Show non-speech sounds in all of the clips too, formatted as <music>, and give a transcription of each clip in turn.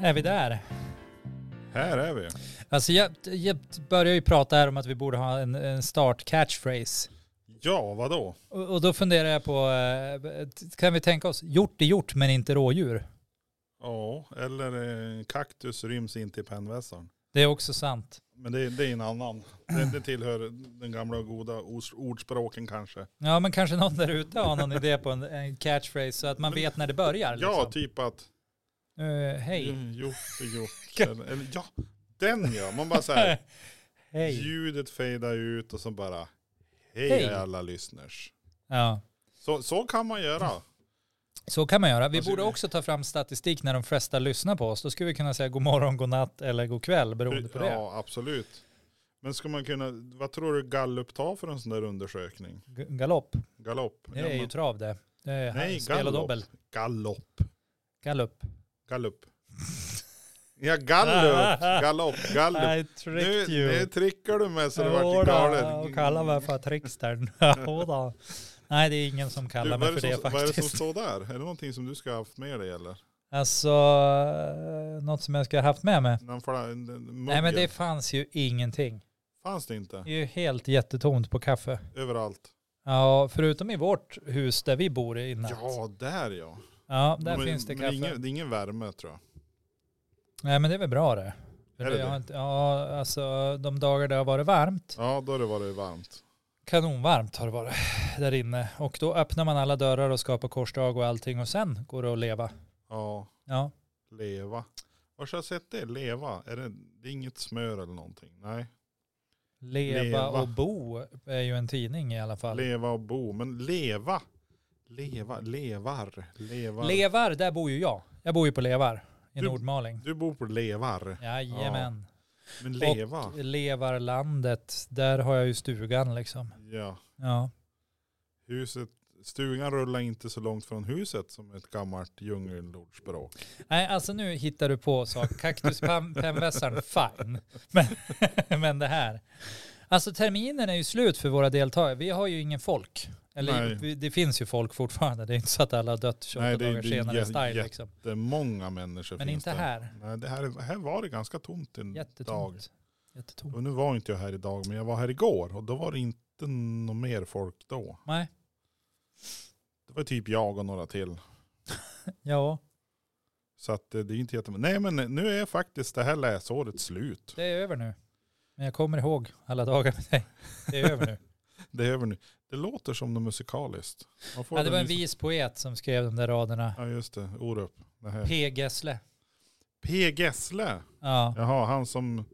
är vi där. Här är vi. Alltså jag, jag börjar ju prata här om att vi borde ha en, en start catchphrase. Ja, vadå? Och, och då funderar jag på, eh, t- kan vi tänka oss, gjort är gjort men inte rådjur. Ja, eller eh, kaktus ryms inte i pennvässaren. Det är också sant. Men det, det är en annan. Det, det tillhör den gamla goda ors- ordspråken kanske. Ja men kanske någon där ute har någon idé på en, en catchphrase så att man vet när det börjar. Liksom. Ja, typ att Eh, hej. Mm, gjort är <laughs> gjort. eller, eller, ja, den ja. Man bara så här, hej. ljudet fejdar ut och så bara, hej, Hej. alla lyssners. Ja. Så, så kan man göra. Så kan man göra. Vi Alltså, borde det- också ta fram statistik när de flesta lyssnar på oss. Då skulle vi kunna säga god morgon, god natt eller god kväll beroende på det. Ja, absolut. Men ska man kunna, vad tror du Gallup tar för en sån där undersökning? G- Galopp, Galopp? det Ja, är ju men- trav det. det är Nej, spel och galopp. dobbel. Galopp. Gallup. Gallup. <laughs> Ja, <laughs> gallup, galopp, gallup. I Nu, tricked nu you. trickar du mig så det vart Jodå, och galet. kalla mig för trickstern. <laughs> Jodå. Nej, det är ingen som Du, kallar vad, är mig det för det som, vad är det som faktiskt. står där? Är det någonting som du ska ha haft med dig eller? Alltså, eh, något som jag ska ha haft med mig. Någon fla- en- en mugg Nej, men det eller? fanns ju ingenting. Fanns det inte? Det är ju helt jättetomt på kaffe. Överallt. Ja, förutom i vårt hus där vi bor innan. Ja, där ja. Ja, där Men- finns det men kaffe. Ingen, det är ingen värme tror jag. Nej men det är väl bra det. För Är det jag det? har Inte, ja, alltså de dagar det har varit varmt, Ja, då har det varit varmt. kanonvarmt har det varit där inne. Och då öppnar man alla dörrar och skapar korsdrag och allting och sen går det att leva. Ja, Ja, leva. Var har jag sett det? Leva? Är det, det är inget smör eller någonting? Nej. leva, Leva. och bo är ju en tidning i alla fall. Leva och bo. Men leva. Leva, levar. Levar. Levar, där bor ju jag. Jag bor ju på Levar i Du- Nordmaling. Du bor på levar. Jajamän. Men leva. Och Levarlandet, där har jag ju stugan liksom. Ja. Ja, Huset. Stugan rullar inte så långt från huset som ett gammalt djungelordspråk. Nej, alltså nu hittar du på saker. <laughs> Kaktuspennvässaren, fine. Men, men <laughs> det här. Alltså terminen är ju slut för våra deltagare. Vi har ju ingen folk. Eller Nej. vi, det finns ju folk fortfarande. Det är inte så att alla har dött 28 Nej, det är- dagar det är senare jä- style jä- liksom. Det är många människor Men finns inte där. här. Nej, det här, här var det ganska tomt en dag. Jättetomt. Jättetomt. Och nu var inte jag här idag, men jag var här igår och då var det inte något mer folk då. Nej, Det var typ jag och några till. ja. Så att eh, det är inte jättemånga. Nej men nu är faktiskt det här läsåret slut. Det är över nu. Men jag kommer ihåg alla dagar med dig. Det är <laughs> över nu. Det är över nu. Det låter som något musikaliskt. Man får Ja, det var den en liksom- vis poet som skrev de där raderna. Ja just det, Orup. Det här. P. Gessle. P. Gessle. E. Ja, Jaha, han som...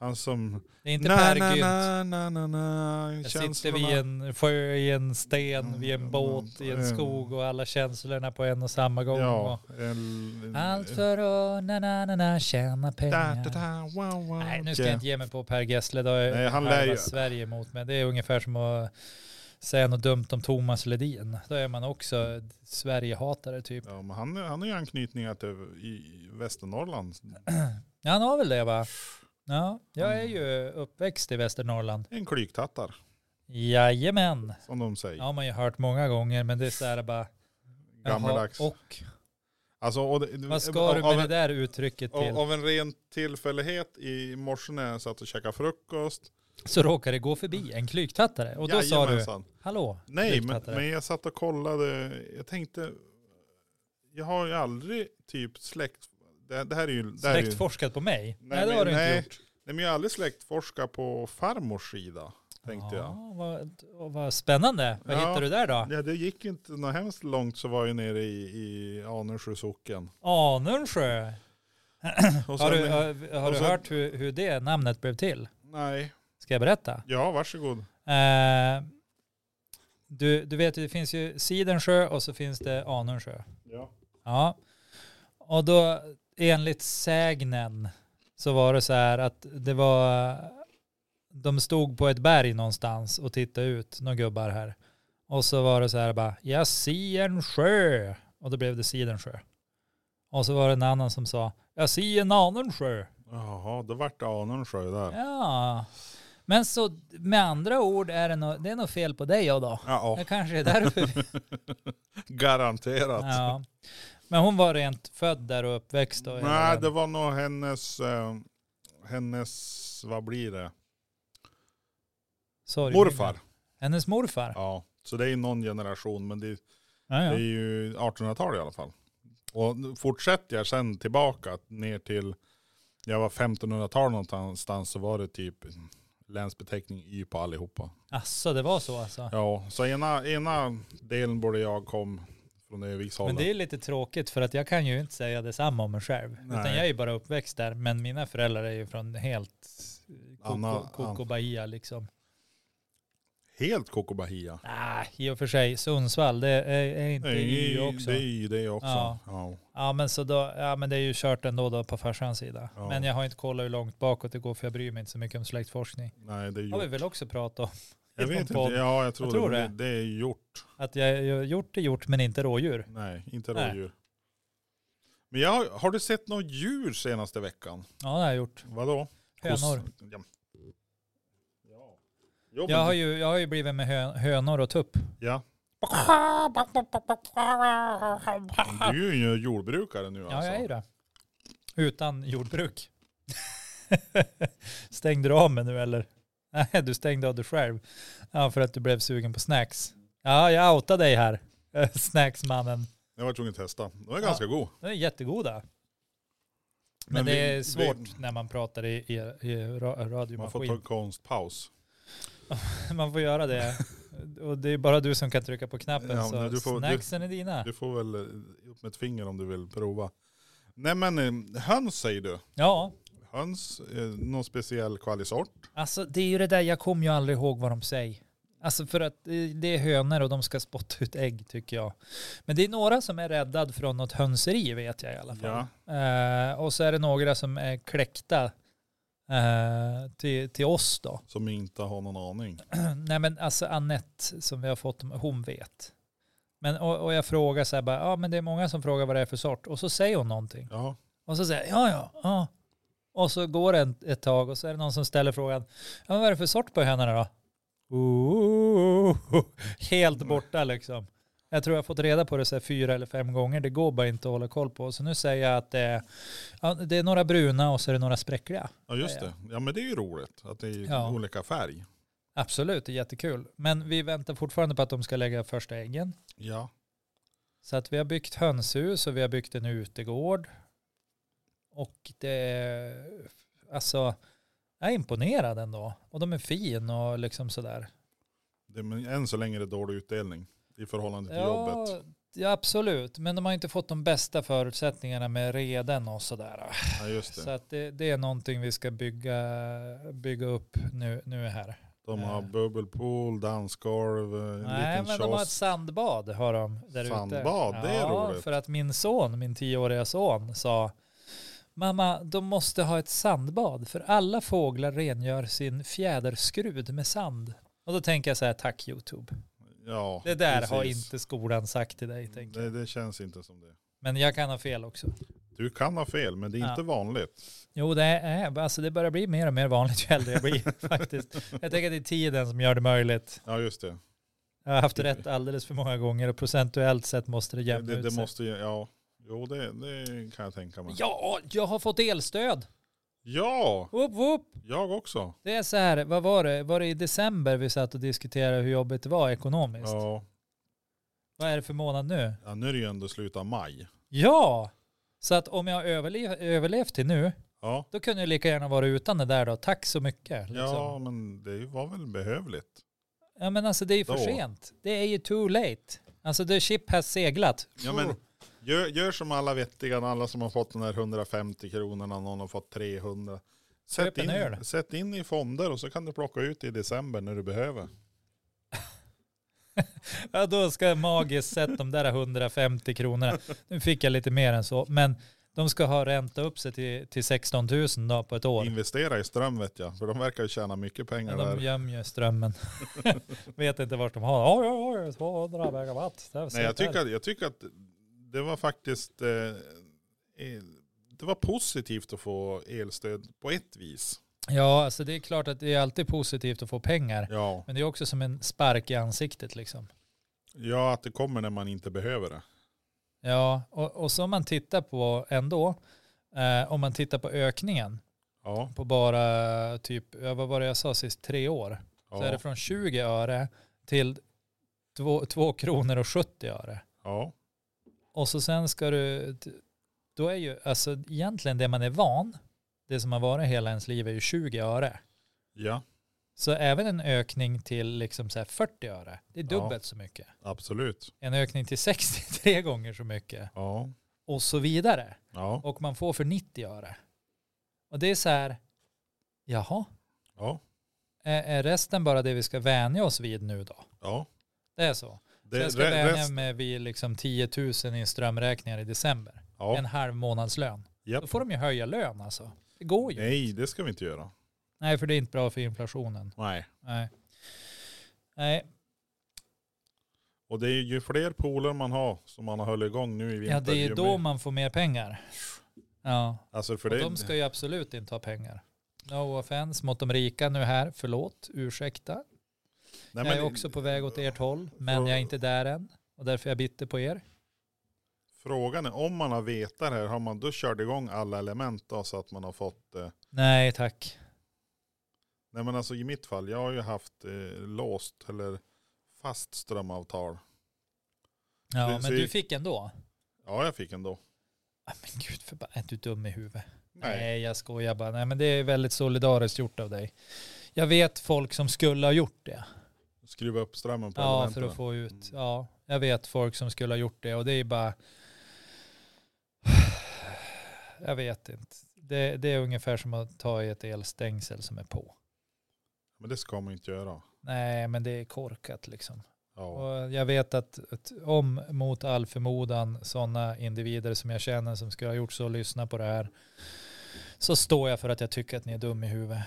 Han som... det är inte Per Gynt. na, na, na, na, Jag sitter känslorna. vid en sjö, i en sten, Mm, vid en mm, båt, i en mm. skog och alla känslorna på en och samma gång. Ja. Och en- allt för att na, na, na, na, tjäna Da, da, pengar. da, wow, wow, Nej, nu ska yeah. jag inte ge mig på Per Gessle. Då är Nej, han halva lär ju- Sverige emot mig. Det är ungefär som att säga något dumt om Thomas Ledin. Då är man också Sverigehatare typ. Ja, men han, han har ju anknytningar till i Västernorrland. Ja, han har väl det va? Ja, jag är ju uppväxt i Västernorrland. En klyktattar, Jajamän. som de säger. Ja, man har ju hört många gånger, men det är så här bara... jaha, Gammaldags. och Alltså, och det, Vad ska du med av det en- där uttrycket av- till? Av en ren tillfällighet i morse när jag satt och käkade frukost. Så råkar det gå förbi en klyktattare. Och då sa du, Jajamensan. hallå Nej, men, klyktattare." men jag satt och kollade. Jag tänkte, jag har ju aldrig typ släkt... Det, det här är ju... Det här är ju- Släktforskat på mig? Nej, det har men- du inte nej. gjort. Nej, men jag har aldrig släktforskat på farmors sida, tänkte jag. ja, vad, och vad spännande. Vad Ja. hittar du där då? Ja, det gick ju inte något hemskt långt så var jag nere i, i Anundsjö socken. Anundsjö. Och Har du, eh- sen- har, har och du sen- hört hur, hur det namnet blev till? Nej. Ska jag berätta? Ja, varsågod. Eh, du, du vet ju, det finns ju Sidensjö och så finns det Anundsjö. Ja. Ja. Och då enligt sägnen så var det så här att det var de stod på ett berg någonstans och tittade ut, några gubbar här. Och så var det så här bara, jag ser en sjö. Och då blev det Sidensjö. Och så var det en annan som sa, jag ser en annan sjö. Jaha, då vart det Anundsjö där. Ja. Men så med andra ord är det nog, det är nog fel på dig då. Ja, <laughs> Det kanske är därför vi garanterat. Ja. Men hon var rent född där och uppväxt? Och hela Nej, den. det var nog hennes, eh, hennes, vad blir det? Sorgminnen. Morfar. Hennes morfar? Ja, så det är ju någon generation, men det, Ja, det är ja. ju 1800-tal i alla fall. Och nu fortsätter jag sen tillbaka ner till, jag var 1500-tal någonstans så var det typ länsbeteckning Y på allihopa. Asså, det var så alltså? Ja, så ena, ena delen både jag kom från Övikshållet. Men det är lite tråkigt för att jag kan ju inte säga detsamma om mig själv. Utan Nej. jag är ju bara uppväxt där. Men mina föräldrar är ju från helt eh, Anna- Coco- Coco Bahia liksom. Helt Coco Bahia. Nej, i och för sig. Sundsvall, det är, är inte Det är ju ju också. det, är ju det också. Ja. Ja. Ja, men så då, ja, men det är ju kört ändå då på farsans sida. Ja. Men jag har inte kollat hur långt bakåt det går för jag bryr mig inte så mycket om släktforskning. Nej, det är har vi gjort. väl också pratat om. Jag någon vet inte. podd. Ja, jag tror, tror det. det. Det är gjort. Att jag, jag gjort är gjort men inte rådjur. Nej, inte Nej. rådjur. Men jag, har- har du sett något djur senaste veckan? Ja, det har jag gjort. Vadå? Hönor. Koss- Ja. Ja. Jo, Jag men- har ju, jag har ju blivit med hö, hönor och tupp. ja. Du är ju jordbrukare nu Ja, alltså. jag är ju det. Utan jordbruk. <laughs> stängde du av mig nu eller? Nej, du stängde av dig själv. Ja, för att du blev sugen på snacks. Ja, jag outade dig här. <laughs> Snacksmannen. Jag var tvungen att testa. De är ganska god. De är jättegoda. Men, Men det vi- är vi- svårt när man pratar i, i, i ra- Man får ta radiomaskin. konstpaus. <laughs> Man får göra det. Och det är bara du som kan trycka på knappen. Ja, så men du får- du- snacksen är dina. Du får väl eh, upp med ett finger om du vill prova. Nej men eh, höns säger du. Ja, Höns, eh, någon speciell kvalisort. Alltså det är ju det där, jag kommer ju aldrig ihåg vad de säger. Alltså för att eh, det är hönor och de ska spotta ut ägg tycker jag. Men det är några som är räddad från något hönseri vet jag i alla fall. Eh, och så är det några som är kläckta eh, till, till oss då. Som inte har någon aning. Nej men alltså Annette som vi har fått, hon vet. Men, och, och jag frågar så här bara, ja men det är många som frågar vad det är för sort. Och så säger hon någonting. Ja. Och så säger jag, ja, ja, ja. Och så går det en- ett tag och så är det någon som ställer frågan, ja, vad är det för sort på hönorna då? Ooh, <laughs> helt borta liksom. Jag tror jag har fått reda på det så här fyra eller fem gånger. Det går bara inte att hålla koll på. Så nu säger jag att det är, ja, det är några bruna och så är det några spräckliga. ja just Ja, ja. det. Ja men det är ju roligt att det är Ja. olika färg. Absolut, det är jättekul. Men vi väntar fortfarande på att de ska lägga första äggen. Ja. Så att vi har byggt hönshus och vi har byggt en utegård. Och det, alltså, jag är imponerad ändå. Och de är fin och liksom sådär. Det, men än så länge är det dålig utdelning i förhållande till jobbet. ja, absolut. Men de har inte fått de bästa förutsättningarna med reden och sådär. Ja just Så det. att det, det är någonting vi ska bygga, bygga upp nu, nu här. De har eh. bubbelpool, dansgolv, eh, en Nej, liten men kiosk. de har ett sandbad har de där ute. Sandbad, det är ja, roligt. för att min son, min tioåriga son, sa Mamma, de måste ha ett sandbad för alla fåglar rengör sin fjäderskrud med sand. Och då tänker jag så här, tack YouTube. Ja, Det där har precis. inte skolan sagt till dig, tänker jag. det, det känns inte som det. Men jag kan ha fel också. Du kan ha fel, men det är Ja. inte vanligt. Jo, det, är, alltså det börjar bli mer och mer vanligt ju äldre jag blir <laughs> faktiskt. Jag tänker att det är tiden som gör det möjligt. Ja just det. Jag har haft rätt alldeles för många gånger och procentuellt sett måste det jämna Det, ut det sig. måste ju, ja. Jo det, det kan jag tänka mig. Ja, jag har fått elstöd. Ja, Whoop, whoop. jag också. Det är så här, vad var det? Var det i december vi satt och diskuterade hur jobbigt det var ekonomiskt? Ja. Vad är det för månad nu? ja, nu är det ju ändå slutet av maj. Ja! Så att om jag har överlev, överlevt till nu, Ja, då kunde jag lika gärna vara utan det där då. Tack så mycket. Liksom. ja Ja. men det var väl behövligt. ja men alltså det är ju för Då. sent. Det är ju too late. Alltså the ship has seglat. Ja, men gör, gör som alla vettiga, alla som har fått den här 150 kronorna, någon har fått 300. Sätt Köp en öl. in, sätt in i fonder och så kan du plocka ut i december när du behöver. <laughs> Ja, då ska jag magiskt sett de där 150 kronorna. Nu fick jag lite mer än så, men de ska ha ränta upp sig till, till 16 000 då på ett år. Investera i ström vet jag, för de verkar ju tjäna mycket pengar Men där. de gömmer ju <laughs> strömmen. Vet inte vart de har. Oj, oj, oj, 200 megawatt. Det här Nej, jag sitter. tycker, att- jag tycker att det var faktiskt eh, eh, det var positivt att få elstöd på ett vis. Ja, alltså det är klart att det är alltid positivt att få pengar. Ja, Men det är också som en spark i ansiktet liksom. ja att det kommer när man inte behöver det. Ja, och, och som man tittar på ändå, eh, om man tittar på ökningen Ja, på bara typ, ja, vad var det jag sa sist, tre år, så är det ja, från 20 öre till 2, 2 kronor och 70 öre. ja, Och så sen ska du, då är ju, alltså egentligen det man är van, det som har varit hela ens liv är ju 20 öre. ja, Så även en ökning till liksom så här 40 öre, det är Ja. dubbelt så mycket. absolut. En ökning till 63 <laughs> gånger så mycket Ja, och så vidare. ja, Och man får för 90 öre. Och det är så här, jaha, ja, är är resten bara det vi ska vänja oss vid nu då? ja. Det är så. Det, så jag ska re- vänja rest- mig vid liksom 10 000 i strömräkningar i december. ja, En halv månadslön. japp. Då får de ju höja lön alltså. Det går ju. Nej, det ska vi inte göra. Nej, för det är inte bra för inflationen. Nej. Nej. Nej, Och det är ju fler poler man har som man har hållit igång nu i vinter. ja, det är ju ju då mer- man får mer pengar. Ja, Alltså för och det, de ska ju absolut inte ha pengar. No offense mot de rika nu här, förlåt, ursäkta. nej, jag är också på väg åt ert håll, men jag är inte där än. Och därför är jag bitter på er. Frågan är om man har vetat det här, har man då kört igång alla element då, så att man har fått eh, Nej, tack. Nej men alltså i mitt fall, jag har ju haft eh, låst eller fast strömavtal. Ja, Det- men så- du fick ändå. Ja jag fick ändå. Ah, Men gud, förba- är du dum i huvudet? Nej. jag skojar bara. Nej, men det är väldigt solidariskt gjort av dig. Jag vet folk som skulle ha gjort det. Skruva upp strömmen på Ja, elementen. för att få ut. Ja, jag vet folk som skulle ha gjort det och det är bara... <sighs> Jag vet inte. Det, det är ungefär som att ta i ett elstängsel som är på. Men det ska man ju inte göra. Nej, men det är korkat liksom. Ja. Och jag vet att, att om mot all förmodan sådana individer som jag känner som skulle ha gjort så och lyssna på det här så står jag för att jag tycker att ni är dum i huvudet.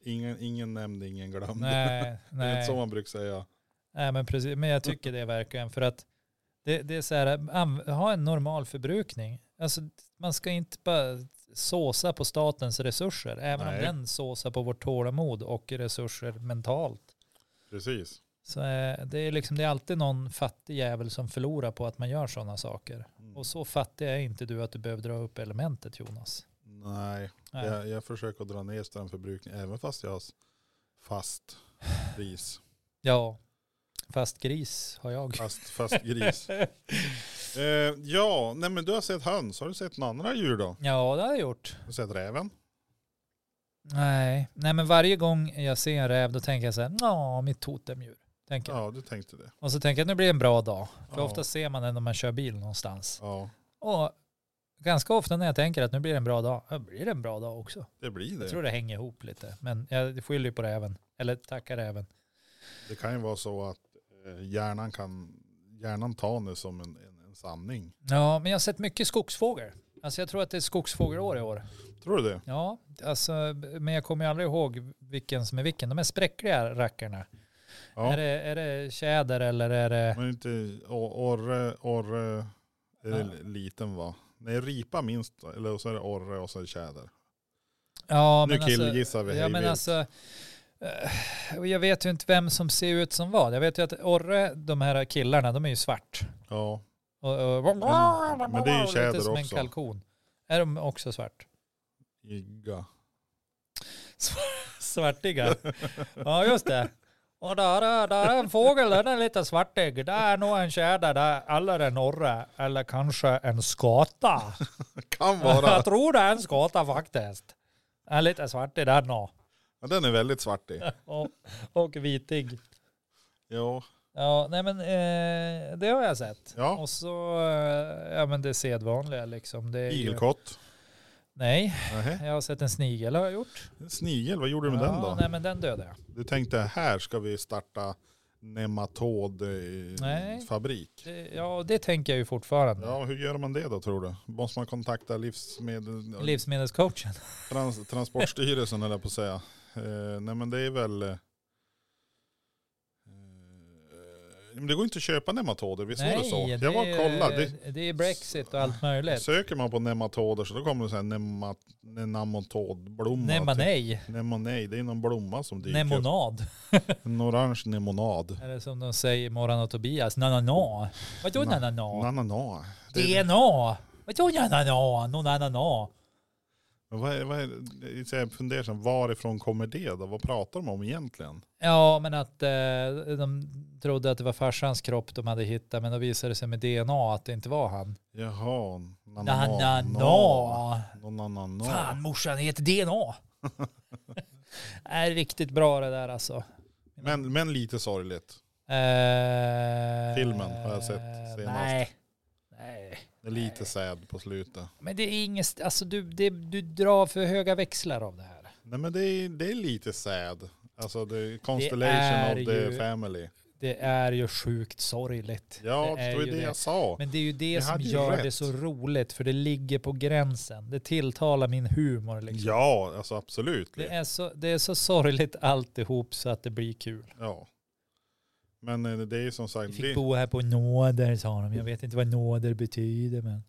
Ingen, ingen nämnd, ingen glömd. Nej, <laughs> Det är nej. inte så man brukar säga. Nej men precis, men jag tycker det verkligen. För att det, det är så här, anv- ha en normal förbrukning. Alltså man ska inte bara såsa på statens resurser, även om Nej. den såsar på vårt tålamod och resurser mentalt. Precis. Så eh, det är liksom, det är alltid någon fattig jävel som förlorar på att man gör sådana saker. Mm. Och så fattig är inte du att du behöver dra upp elementet Jonas. Nej, Nej. Jag, jag försöker dra ner strömförbrukning även fast jag har s- fast pris. Ja, fast gris har jag. Fast, <laughs> fast gris. eh, ja, nej men du har sett höns. Har du sett några andra djur då? Ja, det har jag gjort. Har du sett räven? Nej, nej men varje gång jag ser en räv då tänker jag så här, ja mitt totemdjur. Tänker. jag. Ja, du tänkte det. Och så tänker jag nu blir det en bra dag. För Ja. ofta ser man den när man kör bil någonstans. Ja, Och ganska ofta när jag tänker att nu blir det en bra dag, ja, blir det en bra dag också. det blir det. Jag tror det hänger ihop lite. Men jag skyller ju på räven. Eller tackar räven. Det kan ju vara så att eh, hjärnan kan hjärnan tar det som en, en, en sanning. Ja, men jag har sett mycket skogsfågel. Alltså jag tror att det är skogsfågelår i år. Tror du det? Ja, alltså, men jag kommer ju aldrig ihåg vilken som är vilken. De är spräckliga rackarna. Ja. Är, det, är det tjäder eller är det... Men inte or- orre, orre är det Ja. liten va? Nej, ripa minst, eller och så är det orre och så är det tjäder. Ja, nu men alltså- killgissar vi Ja, hej men vilt. alltså, eh, och jag vet ju inte vem som ser ut som vad. Jag vet ju att Orre, de här killarna, de är ju svart. Ja, Och, och, men det är ju lite tjäder som en också. kalkon. Är de också svart? Igga. <laughs> Svartiga? <laughs> ja, just det. Och där är, där är en fågel, den är lite svartig. Där är nog en tjäder, där, eller en orre, eller kanske en skata. Kan vara. <laughs> jag tror det är en skata faktiskt. Den är lite svartig den och, Ja, den är väldigt svartig. och, och vitig. Ja, Ja, nej men eh, det har jag sett. ja. Och så, eh, ja men det sedvanliga liksom. Det är ju- ilkott. Nej, Nähä. jag har sett en snigel har jag gjort. En Snigel, vad gjorde du med ja, den då? Nej men den dödade jag. Du tänkte här ska vi starta nematodfabrik. Nej. fabrik. Det, ja, det tänker jag ju fortfarande. Ja, hur gör man det då tror du? Måste man kontakta livsmedel... Livsmedelscoachen. Trans Transportstyrelsen höll jag på att säga. Eh, nej men det är väl eh, Men det går inte att köpa nematoder, visst var det så? Nej, Jag var och kollade. Det, det, det är Brexit och allt möjligt. Söker man på nematoder så då kommer det så här nemat, nematodblomma. Nej, men nej. Nemonej, det är någon blomma som dyker upp. Nemonad. En orange nemonad. Eller som de säger i Morran och Tobias, nanana. Vadå Na- nanana? Nanana. Det är, DNA. Vadå nanana? Någon anana. men vad är, vad är, det är så jag funderar, varifrån kommer det då? Vad pratar de om egentligen? Ja, men att eh, de trodde att det var farsans kropp de hade hittat, men då visade det sig med DNA att det inte var han. Jaha, nanana. Nanana. Nanana. Fan, morsan heter <laughs> DNA. är riktigt bra det där alltså. Men, men lite sorgligt. Eh, Filmen har jag sett senast. Nej. nej. Det är lite sad på slutet. Men det är inget, alltså du, det, du drar för höga växlar av det här. Nej men det är, det är lite sad. Alltså det är Det constellation är of the ju- family. Det är ju sjukt sorgligt. Ja, det, är var ju ju det jag sa. Men det är ju det Jag som hade ju gör rätt. det så roligt, för det ligger på gränsen. Det tilltalar min humor. Liksom. Ja, alltså absolut. Det, är så, det är så sorgligt alltihop så att det blir kul. Ja. Men eh, det är ju som Vi sagt, fick det, bo här på nåder, sa de. Jag vet inte vad nåder betyder, men...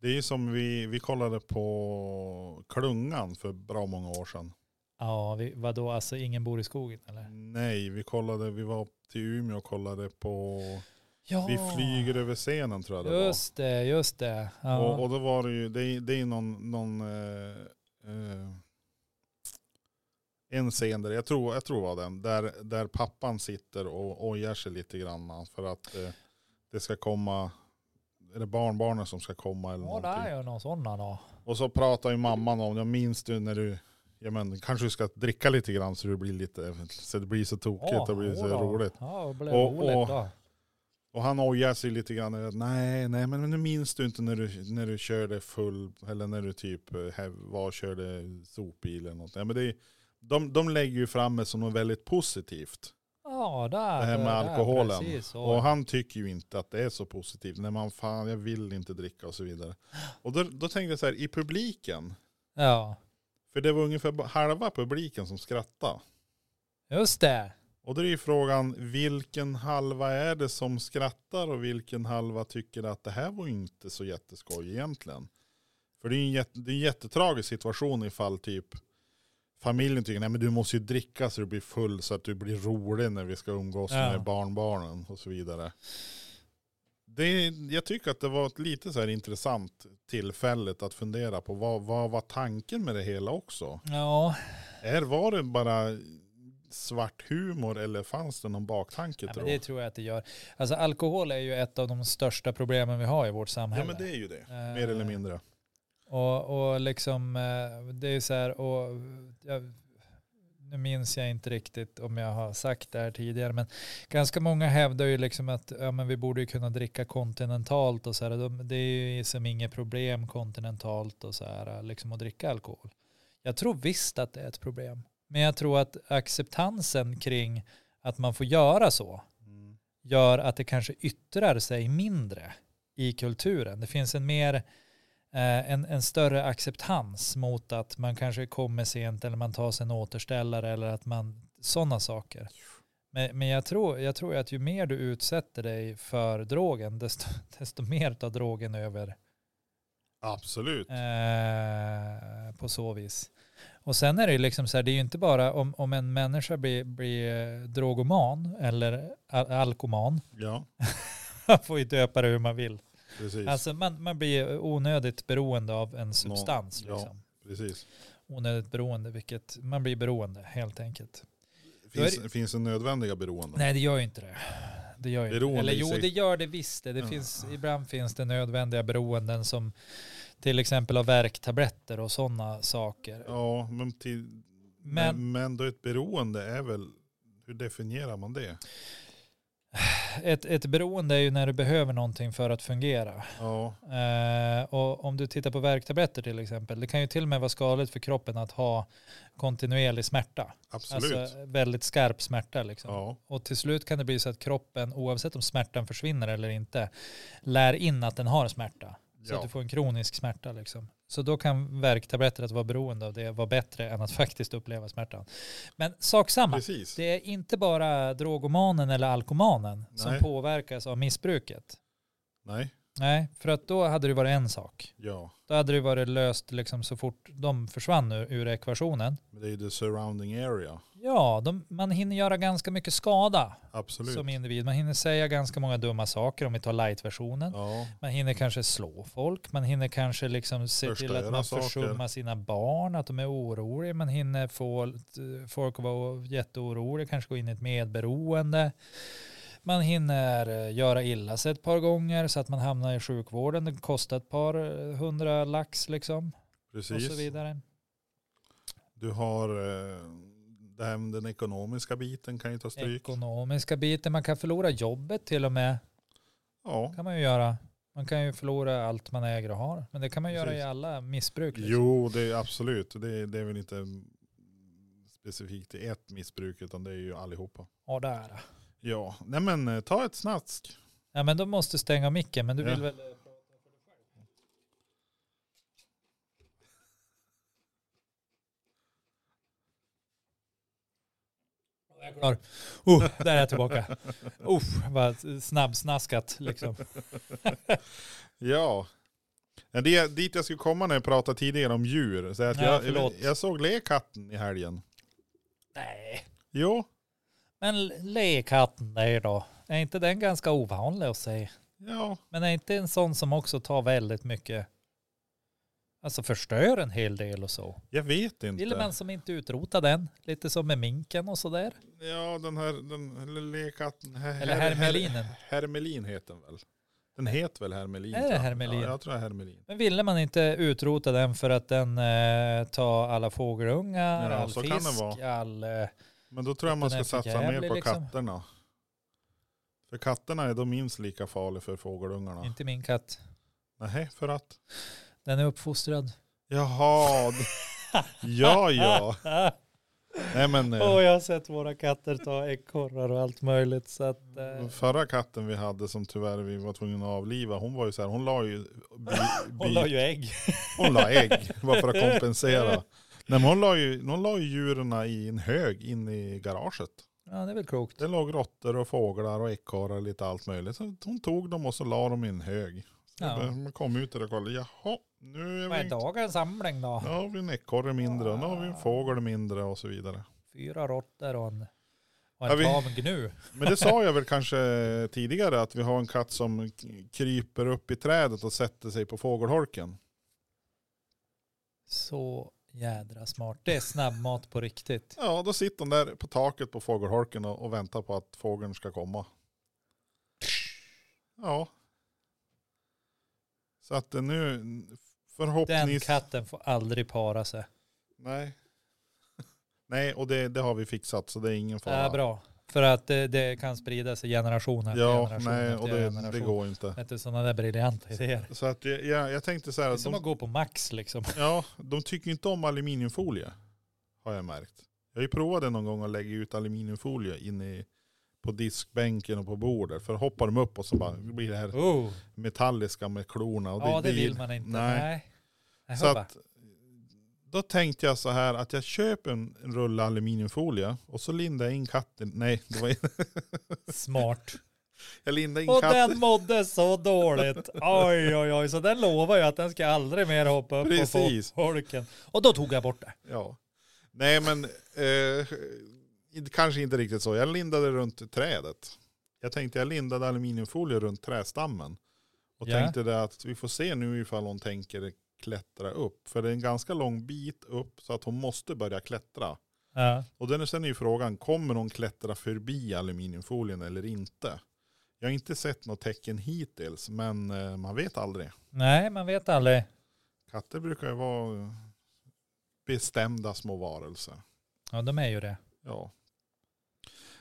det är ju som vi, vi kollade på Klungan för bra många år sedan. Ja, vi, vadå, alltså ingen bor i skogen eller? Nej, vi kollade, vi var till Umeå och kollade på Ja, Vi flyger över scenen tror jag det var. Just det, just det. Ja. Och, och då var det ju, det är, det är någon, någon eh, eh, en scen där, jag tror, jag tror det var den, där, där pappan sitter och ojar sig lite grann för att eh, det ska komma, är det barnbarnen som ska komma eller ja, det någonting? är ju någon sån då. Och så pratar ju mamman om, jag minns du när du, ja men kanske du ska dricka lite grann så du blir lite, så det blir så tokigt Ja, och blir så jodå. roligt. Ja, det blev Och- roligt och- då. Och han ojar sig lite grann. över att, Nej, nej, men nu minns du inte när du, när du körde full, eller när du typ eh, här var och körde sopbil eller något. Ja, men det, är- de, de lägger ju fram det som något väldigt positivt. Ja, där. Det här med där, alkoholen. Precis, och, Och han tycker ju inte att det är så positivt. Nej, man fan, jag vill inte dricka och så vidare. Och då, då tänkte jag så här, i publiken, ja, för det var ungefär bara halva publiken som skrattade. just det. Och då är ju frågan, vilken halva är det som skrattar och vilken halva tycker att det här var ju inte så jätteskoj egentligen? För det är ju en, jätte, det är en jättetragisk situation ifall typ familjen tycker, nej men du måste ju dricka så du blir full så att du blir rolig när vi ska umgås Ja. med barnbarnen och så vidare. Det, är- jag tycker att det var ett lite så här intressant tillfället att fundera på vad, vad var tanken med det hela också? Ja, Är, var det bara svart humor eller fanns det någon ja baktanke men tror det typ jag? tror jag att det gör. Alltså alkohol är ju ett av de största problemen vi har i vårt samhälle. Ja men det är ju det, Eh, mer eller mindre. Och, och liksom, eh, det är ju så här, och jag, nu minns jag inte riktigt om jag har sagt det här tidigare, men ganska många hävdar ju liksom att ja, men vi borde ju kunna dricka kontinentalt och så här, de, det är ju som inget problem kontinentalt och så här, liksom att dricka alkohol. Jag tror visst att det är ett problem, men jag tror att acceptansen kring att man får göra så gör att det kanske yttrar sig mindre i kulturen. Det finns en mer eh, en, en större acceptans mot att man kanske kommer sent eller man tar sig en återställare eller att man sådana saker. Men, men jag, tror, jag tror att ju mer du utsätter dig för drogen desto, <laughs> desto mer tar drogen över Absolut. Eh, på så vis. Och sen är det ju liksom så här, det är ju inte bara om, om en människa blir, blir eh, drogoman eller al- alkoman, Ja, <laughs> man får ju döpa det hur man vill. precis. Alltså man, man blir onödigt beroende av en substans. ja. Liksom. precis. Onödigt beroende, vilket man blir beroende helt enkelt. Då är Finns, finns det nödvändiga beroenden? Nej, det gör ju inte det. Det gör ju inte. det. Beroende Eller i jo, sig. Mm. det gör det visst. Det, det Ja. finns, ibland finns det nödvändiga beroenden som till exempel av värktabletter och sådana saker. Ja, men, till, Men- men, men då ett beroende är väl, hur definierar man det? Ett, ett beroende är ju när du behöver någonting för att fungera. Ja, Eh, och om du tittar på värktabletter till exempel, det kan ju till och med vara skadligt för kroppen att ha kontinuerlig smärta. absolut. Alltså väldigt skarp smärta liksom. ja, Och till slut kan det bli så att kroppen, oavsett om smärtan försvinner eller inte, lär in att den har smärta. Så att ja. du får en kronisk smärta liksom. Så då kan värktabletter att vara beroende av det vara bättre än att <laughs> faktiskt uppleva smärtan. Men sak samma. Precis. Det är inte bara drogomanen eller alkomanen som Nej. påverkas av missbruket. Nej, Nej, för att då hade det varit en sak. ja. Då hade det varit löst liksom så fort de försvann ur, ur ekvationen. Men det är ju the surrounding area. Ja, de, man hinner göra ganska mycket skada Absolut. som individ. Man hinner säga ganska många dumma saker om vi tar light-versionen. Ja, Man hinner kanske slå folk, man hinner kanske liksom se till att Förstöra man saker. försummar sina barn, att de är oroliga, man hinner få eh, folk att vara jätteoroliga, kanske gå in i ett medberoende. Man hinner eh, göra illa sig ett par gånger så att man hamnar i sjukvården, det kostar ett par eh, hundra lax liksom och så precis. vidare. Du har eh, det här med den ekonomiska biten kan ju ta stryk. Ekonomiska biten, man kan förlora jobbet till och med, ja. kan man ju göra. Man kan ju förlora allt man äger och har, men det kan man göra i Precis. alla missbruk. liksom. Jo, det är absolut. Det, det är väl inte specifikt i ett missbruk utan det är ju allihopa. Ja, där. Ja, nej men eh, ta ett snask. Ja men de måste stänga micken men du Ja. vill väl eh, Jag är klar. Oh, där är jag <laughs> tillbaka. Oh, vad snabbsnaskat liksom. Ja. Ja, Det är dit jag skulle komma när jag pratade tidigare om djur. Så att Ja, jag, jag, förlåt. såg lekatten i helgen. Nej. Jo, Men lekhatten där då. Är inte den ganska ovanlig att se? ja, Men är inte en sån som också tar väldigt mycket, alltså förstör en hel del och så? jag vet inte. Vill man som inte utrota den? Lite som med minken och sådär. Ja, den här den, eller lekatten. Her, Eller hermelinen. hermelin heter den väl? Den heter väl hermelin? Är det tror jag. hermelin? Ja, jag tror det är hermelin. Men ville man inte utrota den för att den eh, tar alla fågelungar, Ja, all så fisk, kan det vara. all... Eh, Men då tror jag Att man den ska är för satsa mer jävlig, på liksom. katterna. För katterna är de minst lika farliga för fågelungarna. inte min katt. Nej, för att? Den är uppfostrad. Jaha. <laughs> ja, ja. Åh, Nej, men eh, jag har sett våra katter ta ekorrar och allt möjligt. Så att, eh, förra katten vi hade som tyvärr vi var tvungna att avliva, hon var ju så här, hon la ju, bi, <laughs> hon la bi, ju ägg. hon la ägg bara <laughs> för att kompensera. Nej, men hon la ju, hon la ju djuren i en hög in i garaget. Ja, det är väl klokt. Det låg råttor och fåglar och ekorrar och lite allt möjligt. Så hon tog dem och så la dem i en hög. Så Ja. bara- Man kom ut där och kollade, jaha, nu är Vad är vi Ah. inte... dagens samling då? Nu har vi en ekorre mindre, nu har vi en fågel mindre och så vidare. Fyra råttor och en, och Ja, en vi- tamgnu. Men det sa jag väl kanske tidigare att vi har en katt som kryper upp i trädet och sätter sig på fågelholken. Så jädra smart. Det är snabbmat på riktigt. Ja, då sitter hon där på taket på fågelholken och, och väntar på att fågeln ska komma. Ja. Så att eh, nu Den förhoppningsvis... katten får aldrig para sig. Nej. <laughs> Nej, och det, det har vi fixat så det är ingen Det fara. är bra. För att det, det kan sprida sig generation efter Ja, generation nej, efter och det, generation. det går inte. Inte sådana där briljanta idéer. Så att jag, jag, jag tänkte så här, Det är att som de, att gå på Max liksom. ja, de tycker inte om aluminiumfolie. Har jag märkt. Jag har ju provat det någon gång att lägga ut aluminiumfolie in i, på diskbänken och på bordet. För hoppar de upp och så bara, det blir det här Oh. metalliska med klorna. Och Ja, det vill man inte. nej. Nej. Nej. Så hoppa. att, då tänkte jag så här att jag köper en en rulle aluminiumfolie och så lindar jag in katten. Nej, det var, <laughs> Smart. jag lindar in Och katten. den mådde så dåligt. Oj, oj, oj. Så den lovar ju att den ska aldrig mer hoppa upp Precis. på holken. Och då tog jag bort det. Ja. Nej men, eh, inte- kanske inte riktigt så. Jag lindade runt trädet. Jag tänkte jag lindade aluminiumfolie runt trästammen. Och Ja. tänkte det att vi får se nu ifall hon tänker klättra upp. För det är en ganska lång bit upp så att hon måste börja klättra. Ja. Och den, sen är ju frågan, kommer hon klättra förbi aluminiumfolien eller inte? Jag har inte sett något tecken hittills, men eh, man vet aldrig. Nej, man vet aldrig. Katter brukar ju vara bestämda små varelser. Ja, de är ju det. Ja.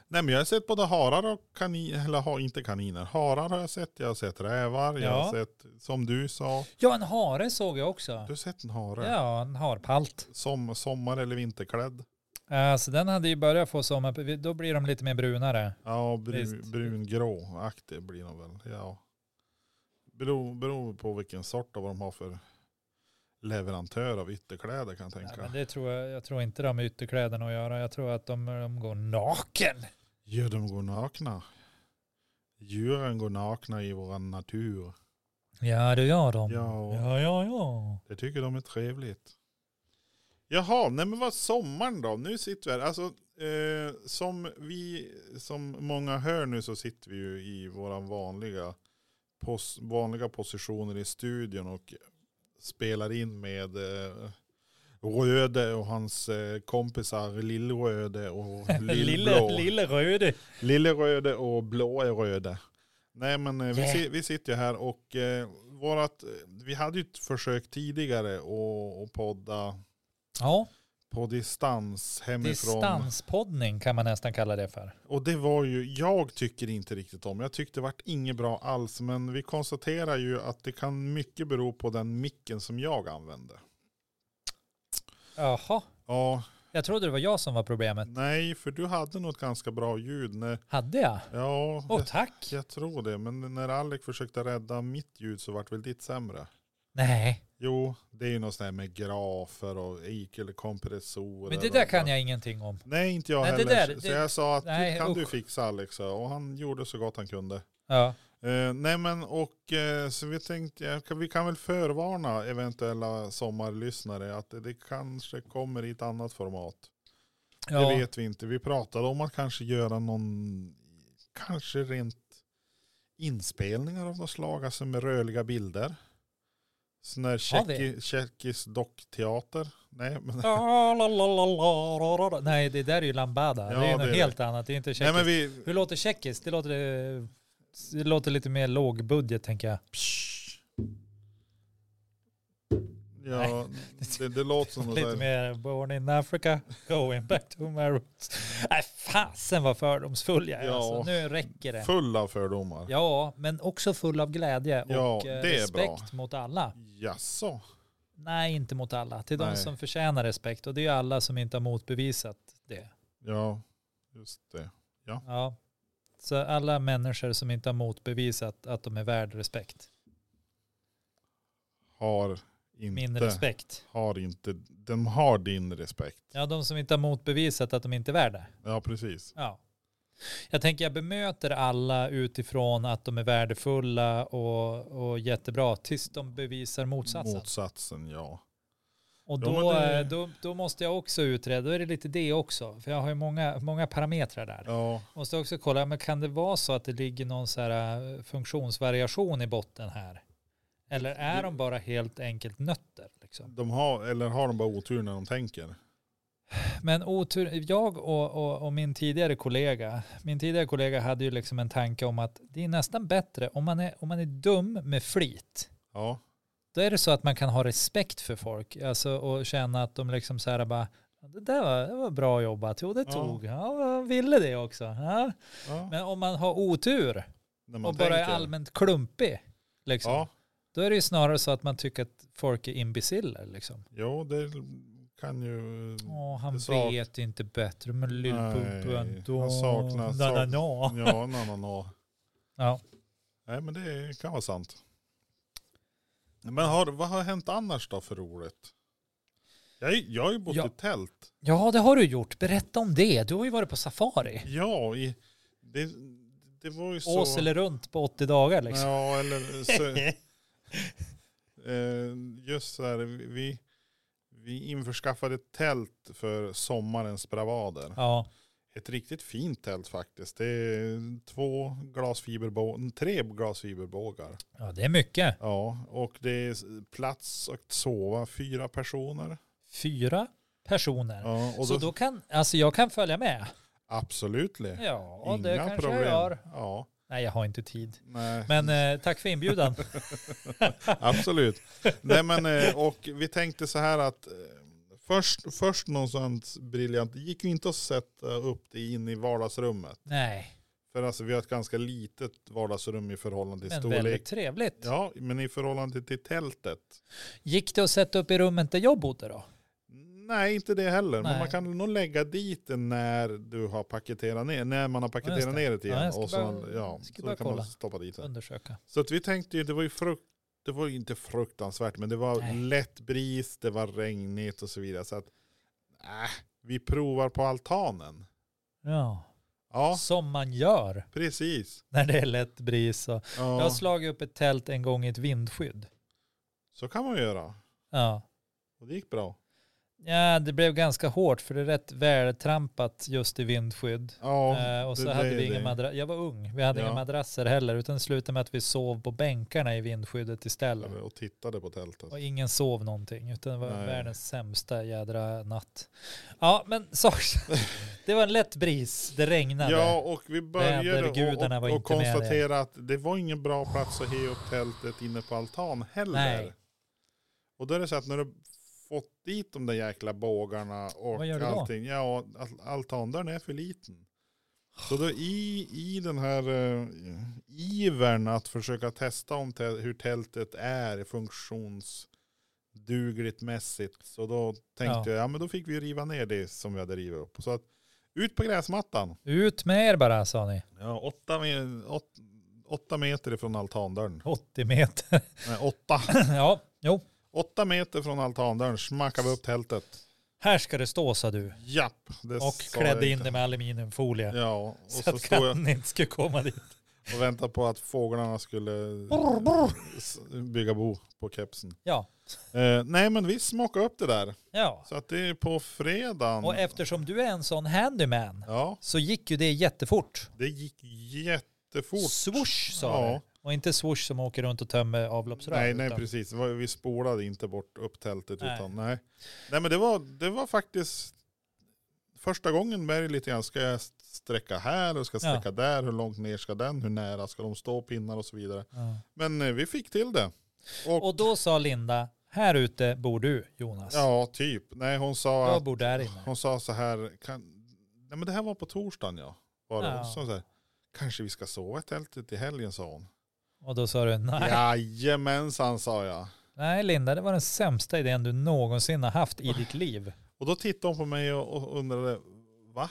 Nej men jag har sett både harar och kaniner, eller ha, inte kaniner, harar har jag sett, jag har sett rävar, jag har Ja. sett, som du sa, Ja, en hare såg jag du också. har sett en hare. Ja, en harpalt. Som, sommar eller vinterklädd. Alltså den hade ju börjat få sommar, då blir de lite mer brunare. Ja, bru, Visst. brungrå-aktig blir de väl. Ja. Beror, beror på vilken sort och vad de har för. leverantör av ytterkläder kan jag Nej, tänka. men det tror jag, jag tror inte de har ytterkläderna att göra. Jag tror att de, de går naken. Ja, de går nakna. Djuren går nakna i vår natur. Ja, det gör de. Ja. ja, ja. ja. Det tycker de är trevligt. Jaha, nej men vad sommaren då? Nu sitter vi här. Alltså, eh, som, vi, som många hör nu så sitter vi ju i våra vanliga, pos, vanliga positioner i studion och spelar in med eh, Röde och hans eh, kompisar Lillröde och Lillblå. Lille, lille Röde. Lille röde och blå är röde. Nej men eh, vi, Yeah. si- vi sitter ju här och eh, vårat, eh, vi hade ju ett försök tidigare att att podda Ja, på distans hemifrån. distanspoddning kan man nästan kalla det för. Och det var ju, jag tycker inte riktigt om, jag tyckte det vart inget bra alls. Men vi konstaterar ju att det kan mycket bero på den micken som jag använde. Jaha, Ja, jag trodde det var jag som var problemet. nej för du hade nog ett ganska bra ljud. När, Hade jag? ja, Åh, jag, tack. jag tror det. Men när Alec försökte rädda mitt ljud så vart väl ditt sämre. Nej, Jo, det är ju något sånt här med grafer och ikelkompressorer. men det där kan jag ingenting om. Nej, inte jag Nej, det heller. där, så det- jag sa att Nej, du, kan du usch. fixa Alex? Och han gjorde så gott han kunde. Ja, Eh, nej men och eh, så vi tänkte, jag kan- vi kan väl förvarna eventuella sommarlyssnare att det, det kanske kommer i ett annat format. ja. Det vet vi inte. Vi pratade om att kanske göra någon, kanske rent inspelningar av något slag, alltså med rörliga bilder. Sån där Har vi? tjecki, tjeckisk dockteater. Nej <laughs> men, Ah, la, la, la, la, la, la, la. Nej, det där är ju lambada. Ja, det är ju det något är det. helt annat. Det är inte nej, tjeckiskt. <laughs> men vi, Hur låter tjeckiskt? Det låter, eh, det låter lite mer lågbudget tänker jag. ja, det, det <laughs> låter som något Lite där. mer born in Africa, going back to my roots. Nej, fasen vad fördomsfull jag är. Ja. Alltså, nu räcker det. full av fördomar. Ja, men också full av glädje Ja, och eh, det är respekt mot alla. Jaså? Nej, inte mot alla. Till de Nej. som förtjänar respekt. Och det är ju alla som inte har motbevisat det. Ja, just det. Ja. Så alla människor som inte har motbevisat att de är värd respekt. Har inte. Min respekt. Har inte. De har din respekt. Ja, de som inte har motbevisat att de inte är värda. Ja, precis. Ja. Jag tänker jag bemöter alla utifrån att de är värdefulla och, och jättebra tills de bevisar motsatsen. Motsatsen, ja. Och Ja, men då, det- eh, då, då måste jag också utreda, då är det lite det också, för jag har ju många, många parametrar där. Ja, Måste också kolla, men kan det vara så att det ligger någon så här eh, funktionsvariation i botten här? Eller är de bara helt enkelt nötter? Liksom? de har, eller har de bara otur när de tänker? Men otur, jag och, och, och min tidigare kollega, min tidigare kollega hade ju liksom en tanke om att det är nästan bättre om man är, om man är dum med flit. Ja, Då är det så att man kan ha respekt för folk alltså, och känna att de liksom så här bara, det där var, det var bra jobbat, jo det Ja. tog, ja, jag ville det också. Ja. ja Men om man har otur när och bara är allmänt klumpig, liksom, Ja, då är det ju snarare så att man tycker att folk är imbeciller. Liksom. jo det kan ju... Åh, han Mm. Det sak- vet inte bättre, men lillpumpen Nej, då... han saknar- Na, na, na. Ja, na, na, na. Ja. Nej men det kan vara sant. Men har, vad har hänt annars då för roligt? Jag, är- jag har ju bott Ja. i tält. ja, det har du gjort. Berätta om det. Du har ju varit på safari. Ja, i, det, det var ju så... Ås eller runt på 80 dagar liksom. Ja, eller så, <laughs> Eh, just så här, vi- vi, vi införskaffade ett tält för sommarens bravader. ja. Ett riktigt fint tält faktiskt. Det är två glasfiberbå- tre glasfiberbågar. ja, det är mycket. Ja, och det är s- plats att sova fyra personer. Fyra personer. Ja, och Så då, då kan, alltså jag kan följa med. absolut. Ja, Inga det kanske problem. jag gör. Ja, Nej, jag har inte tid. nej. Men eh, tack för <laughs> inbjudan. Absolut. Nej, men, eh, och vi tänkte så här att eh, först, först någon sånt briljant, det gick ju inte att sätta upp det in i vardagsrummet. Nej, För alltså, vi har ett ganska litet vardagsrum i förhållande till men storlek. väldigt trevligt. Ja, men i förhållande till tältet. Gick det att sätta upp i rummet där jag bodde då? Nej, inte det heller. Men Nej. man kan nog lägga dit den när du har paketerat ner, när man har paketerat det. ner det igen. Ja, jag ska och så, bara- ja, ska så bara kan man kolla. stoppa dit det. Undersöka. Så att vi tänkte ju, det var ju frukt, det var ju inte fruktansvärt, men det var Nej. lätt bris, det var regnigt och så vidare. Så att, äh, vi provar på altanen. Ja. Ja, Som man gör precis. när det är lätt bris. Och... Jag har Ja, slagit upp ett tält en gång i ett vindskydd. så kan man göra. Ja. Och det gick bra. Ja, det blev ganska hårt för det är rätt vältrampat just i vindskydd. Ja, Eh, och så det- hade det- vi inga det. madrasser. Jag var ung, vi hade Ja. inga madrasser heller utan det slutade med att vi sov på bänkarna i vindskyddet istället. och tittade på tältet. Och ingen sov någonting utan det var Nej. världens sämsta jädra natt. Ja men så, <laughs> det var en lätt bris, det regnade. Ja, och vi började Vädergudarna och, var och, och inte med konstatera att det var ingen bra plats att he upp tältet inne på altan heller. Nej. Och då är det så att när du fått dit de där jäkla bågarna och Vad gör du då? allting. Ja, al- altandörren är för liten. Så då i, i den här uh, ivern att försöka testa om tä- hur tältet är funktionsdugligt mässigt. Så då Ja. tänkte jag, ja men då fick vi riva ner det som vi hade rivit upp. Så att ut på gräsmattan. Ut med er bara sa ni, Ja, åtta, me åt- åtta meter ifrån altandörren. 80 meter. Nej, åtta. <laughs> ja, jo, åtta meter från altandörren smackar vi upp tältet. här ska det stå sa du. Japp. Det Och sa jag klädde in inte. det med aluminiumfolie. Ja, och Så, så, att stod jag katten inte skulle komma dit. och väntade på att fåglarna skulle Brr, brr. s- bygga bo på kepsen. Ja, Eh, nej, men vi smakade upp det där. ja. Så att det är på fredagen. Och eftersom du är en sån handyman Ja, så gick ju det jättefort. det gick jättefort. Swoosh sa Ja. det. Och inte swoosh som åker runt och tömmer avloppsrör. Nej, nej utan- precis. Det var- Vi spolade inte bort upp tältet. Nej. Utan, nej. nej, men det var, det var faktiskt första gången med det lite grann. Ska jag sträcka här och ska jag Ja. sträcka där? Hur långt ner ska den? Hur nära ska de stå? Pinnar och så vidare. Ja. Men eh, vi fick till det. Och, Och då sa Linda, här ute bor du Jonas. ja, typ. Nej, hon sa, Jag att, bor där inne. hon sa så här. Kan, nej, men det här var på torsdagen ja. Var det. Ja. Hon sa så här. Kanske vi ska sova i tältet i helgen sa <laughs> hon. Och då sa du, nej, Jajamensan sa jag. nej Linda, det var den sämsta idén du någonsin har haft i ditt liv. Och då tittade hon på mig och, och undrade. Va?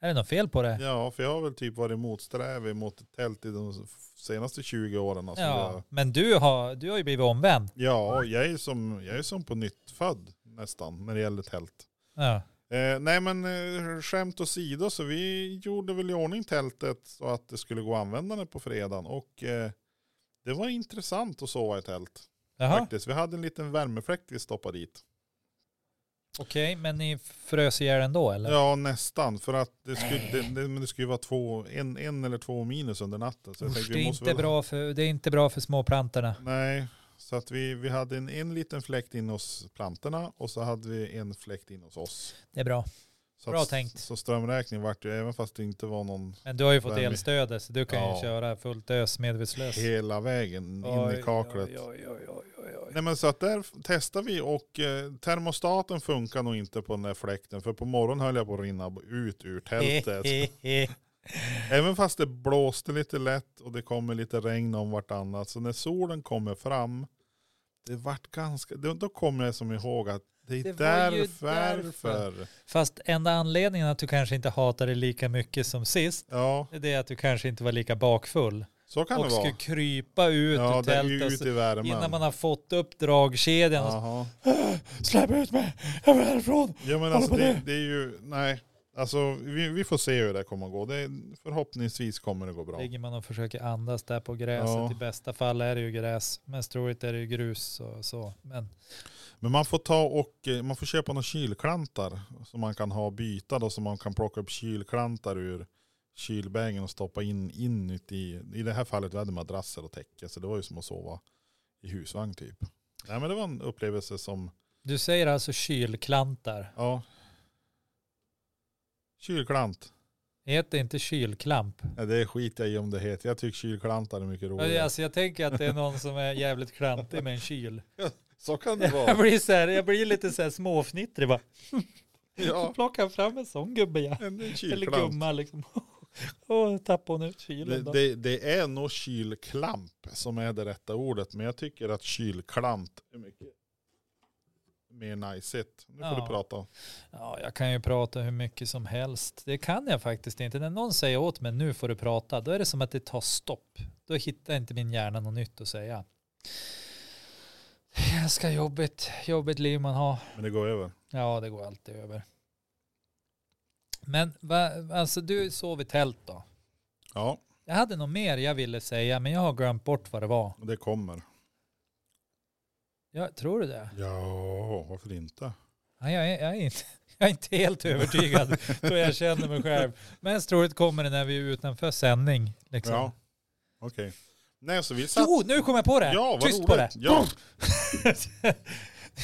Är det något fel på det? Ja, för jag har väl typ varit motsträvig mot ett tält i de senaste 20 åren. Alltså. Ja, Ja. men du har, du har ju blivit omvänd. ja, och jag är som, jag är som på nytt född nästan när det gäller tält. Ja. Eh, nej men eh, skämt åsido så vi gjorde väl i ordning tältet så att det skulle gå användande på fredagen. Och eh, det var intressant att sova i tält Jaha, faktiskt. Vi hade en liten värmefläkt vi stoppade dit. okej, men ni frös ihjäl ändå eller? Ja nästan, för att det skulle, det, det, men det skulle ju vara två, en, en eller två minus under natten. Så jag Usch, tänkte, det, vi är måste inte väl- bra för, det är inte bra för småplantorna. Nej, så att vi, vi hade en, en liten fläkt in hos plantorna och så hade vi en fläkt in hos oss. Det är bra. Så Bra att, tänkt. Så strömräkning vart det ju, även fast det inte var någon Men du har ju fått Värme. elstöd så du kan Ja. ju köra fullt ös medvetslös. hela vägen in i kaklet. Oj, oj, oj, oj, oj. Nej men så att där f- testade vi och eh, termostaten funkar nog inte på den där fläkten för på morgonen höll jag på att rinna b- <laughs> ut ur tältet. Även fast det blåste lite lätt och det kommer lite regn om vartannat. Så när solen kommer fram, det vart ganska, då, då kommer jag som ihåg att det är Det var ju därför. därför. <laughs> Fast enda anledningen att du kanske inte hatar det lika mycket som sist, Ja, det är att du kanske inte var lika bakfull. så kan och det vara. skulle krypa ut ja, ur det är ju tältet och ut så- i värmen. innan man har fått upp dragkedjan. Och Jaha. så, Släpp ut mig, jag vill härifrån. Ja men Kolla alltså på det, det. det är ju, nej. Alltså vi, vi får se hur det kommer att gå. Det, förhoppningsvis kommer det gå bra. Ligger man och försöker andas där på gräset, Ja. i bästa fall är det ju gräs, mest troligt är det ju grus och så. Men Men man får ta och, eh, man får köpa några kylklantar som man kan ha och byta då, så man kan plocka upp kylklantar ur kylbängen och stoppa in inuti. I det här fallet vi hade madrasser och täcke, så det var ju som att sova i husvagn typ. Nej men det var en upplevelse som, du säger alltså kylklantar. ja. Kylklant. Heter inte kylklamp? Nej, det skiter jag i om det heter. Jag tycker kylklantar är mycket Men roligare. Alltså jag tänker att det är någon som är jävligt klantig med en kyl. Så kan det <laughs> Jag vara. blir, så här, jag blir lite så här småfnittrig bara. Ja, Plocka fram en sån gubbe ja. en Eller kylklant. gumma liksom. <laughs> Åh, tappade hon ut Det, kylen då. det, det är nog kylklamp som är det rätta ordet, men jag tycker att kylklant är mycket mer najsigt. Nu får Ja. du prata. Ja, jag kan ju prata hur mycket som helst. Det kan jag faktiskt inte. När någon säger åt mig nu får du prata, då är det som att det tar stopp. Då hittar inte min hjärna något nytt att säga. ganska jobbigt, jobbigt liv man har. Men det går över. Ja, det går alltid över. Men va, alltså du sov i tält då? Ja, Jag hade något mer jag ville säga, men jag har glömt bort vad det var. det kommer. Jag, tror du det? Ja, varför inte? Nej, jag, är, jag, är inte, <laughs> jag är inte helt övertygad, tror jag känner mig själv. Mest troligt kommer det när vi är utanför sändning. Liksom. Ja, okej. Nej, så vi satt... Jo, nu kom jag på det! Ja, vad Tyst roligt. på det! Ja. <laughs>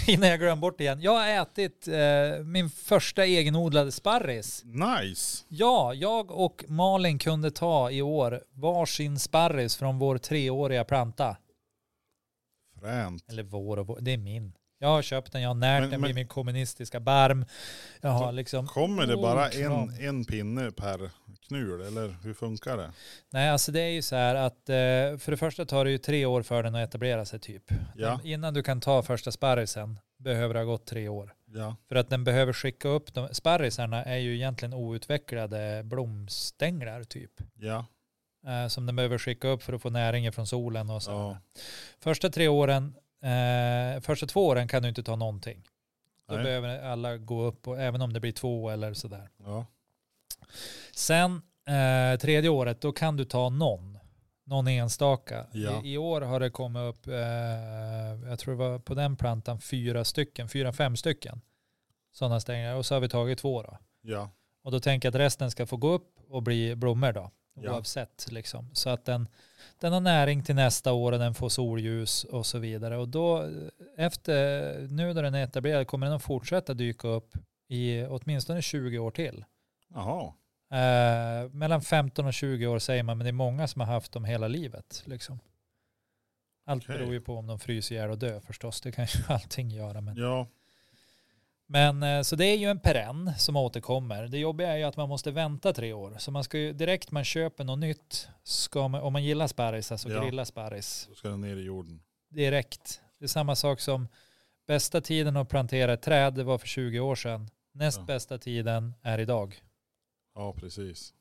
Innan jag glömmer bort det igen. Jag har ätit eh, min första egenodlade sparris. Nice. Ja, jag och Malin kunde ta i år varsin sparris från vår treåriga planta. Fränt. Eller vår och vår, det är min. Jag har köpt den, jag har närt Men- den men- vid min kommunistiska barm. Jag har liksom, Kommer det bara en, Otroligt. en pinne per knul eller hur funkar det? nej alltså det är ju så här att eh, för det första tar det ju tre år för den att etablera sig typ. Ja, Innan du kan ta första sparrisen behöver det ha gått tre år. ja, För att den behöver skicka upp de, sparrisarna är ju egentligen outvecklade blomstänglar typ. ja, Eh, som den behöver skicka upp för att få näringen från solen och så. ja. Första tre åren, eh, första två åren kan du inte ta någonting. Då Nej. behöver alla gå upp, och, även om det blir två eller sådär. ja. Sen eh, tredje året, då kan du ta någon. Någon enstaka. Ja. I, I år har det kommit upp, eh, jag tror det var på den plantan, fyra stycken, fyra, fem stycken sådana stängningar. Och så har vi tagit två då. ja. Och då tänker jag att resten ska få gå upp och bli blommor då. Ja. Oavsett liksom. Så att den, den har näring till nästa år och den får solljus och så vidare. Och då eh, efter, nu när den är etablerad kommer den att fortsätta dyka upp i åtminstone 20 år till. Jaha, Eh, mellan 15 och 20 år säger man, men det är många som har haft dem hela livet. Liksom. Allt Okej. beror ju på om de fryser ihjäl och dör förstås. Det kan ju <laughs> allting göra. Men, ja, men eh, så det är ju en perenn som återkommer. Det jobbiga är ju att man måste vänta tre år. Så man ska ju direkt man köper något nytt, ska man, om man gillar sparris, alltså Ja. grilla sparris, då ska den ner i jorden. direkt. Det är samma sak som bästa tiden att plantera ett träd, det var för 20 år sedan. Näst Ja. bästa tiden är idag. Ja, precis.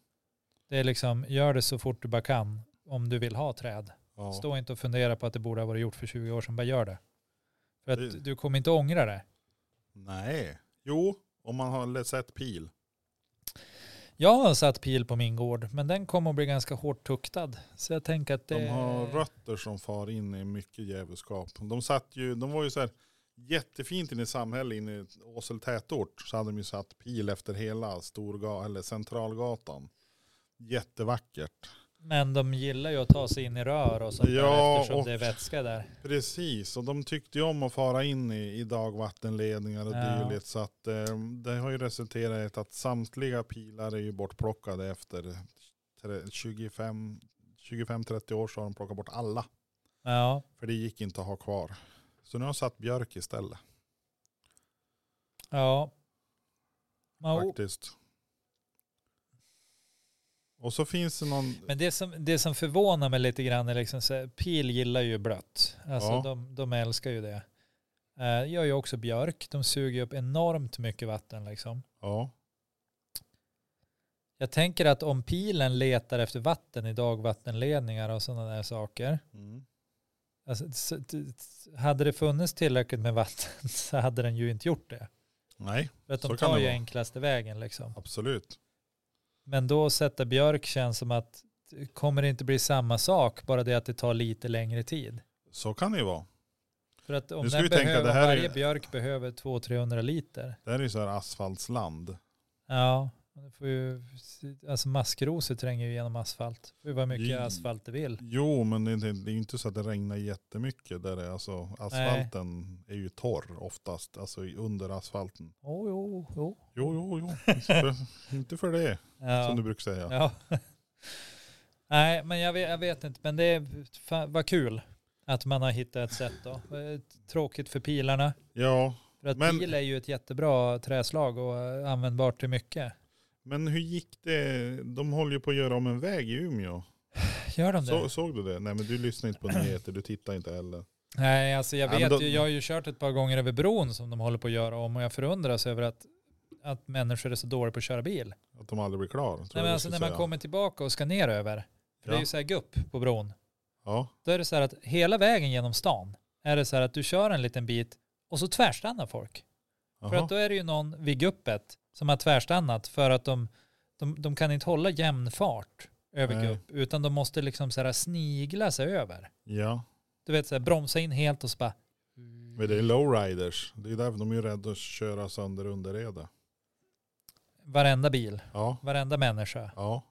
Det är liksom, gör det så fort du bara kan om du vill ha träd. Ja. Stå inte och fundera på att det borde ha varit gjort för 20 år sedan, bara gör det. För Det- att du kommer inte ångra det. Nej, jo, om man har sett pil. Jag har satt pil på min gård, men den kommer att bli ganska hårt tuktad. Så jag tänker att det... De har rötter som far in i mycket djävulskap. De satt ju, de var ju så här jättefint inne i samhället, inne i Åsele tätort, så hade de ju satt pil efter hela Storga, eller Centralgatan. Jättevackert. Men de gillar ju att ta sig in i rör och sånt Ja, där, eftersom och- det är vätska där. Precis, och de tyckte ju om att fara in i, i dagvattenledningar och Ja. dylikt. Så att eh, det har ju resulterat i att samtliga pilar är ju bortplockade efter tre- 25 25-30 år så har de plockat bort alla. Ja, För det gick inte att ha kvar. Så nu har jag satt björk istället. ja. Ja, Faktiskt. Och så finns det någon, Men det som, det som förvånar mig lite grann är liksom så här, pil gillar ju blött. Alltså Ja. de, de älskar ju det. Eh, gör ju också björk. De suger upp enormt mycket vatten liksom. ja, Jag tänker att om pilen letar efter vatten i dagvattenledningar och sådana där saker. mm. Alltså, så- t- t- hade det funnits tillräckligt med vatten <laughs> så hade den ju inte gjort det. nej, För att Så de kan tar det ju vara. enklaste vägen liksom. absolut. Men då sätta björk känns som att kommer det inte bli samma sak, bara det att det tar lite längre tid. Så kan det ju vara. För att om Nu ska den vi tänka, behöver, det här är- varje björk behöver 200-300 liter. Det här är ju så här asfaltsland. Ja, det får ju, alltså maskrosor tränger ju genom asfalt. Det får ju vara mycket Mm. asfalt det vill. Jo, men det är inte- det är ju inte så att det regnar jättemycket. Där det, är, alltså, asfalten är ju torr oftast, alltså i- under asfalten. Oh, jo, jo. Jo, <laughs> jo, jo. Inte för, inte för det, som Ja. du brukar säga. <laughs> ja. Nej, men jag vet, jag vet inte. Men det är- fan, vad kul att man har hittat ett sätt då. Eh, Tråkigt för pilarna. Ja, För att Men- pil är ju ett jättebra träslag och eh, användbart till mycket. men hur gick det? De håller ju på att göra om en väg i Umeå. Gör de det? Så, såg du det? Nej, men du lyssnar inte på nyheter, du tittar inte heller. Nej, alltså jag Ja, vet men då- ju, jag har ju kört ett par gånger över bron som de håller på att göra om och jag förundras över att, att människor är så dåliga på att köra bil. Att de aldrig blir klara. tror Nej, jag men du alltså skulle när man säga. kommer tillbaka och ska ner över, för det är Ja. ju så här gupp på bron, Ja, då är det så här att hela vägen genom stan är det så här att du kör en liten bit och så tvärstannar folk. För Jaha. att då är det ju någon vid guppet som har tvärstannat för att de, de, de kan inte hålla jämn fart över Nej. gupp utan de måste liksom så här snigla sig över. Ja, Du vet så här bromsa in helt och så bara men det är lowriders. Det är därför de är ju rädda att köra sönder underrede. varenda bil, Ja, varenda människa. ja.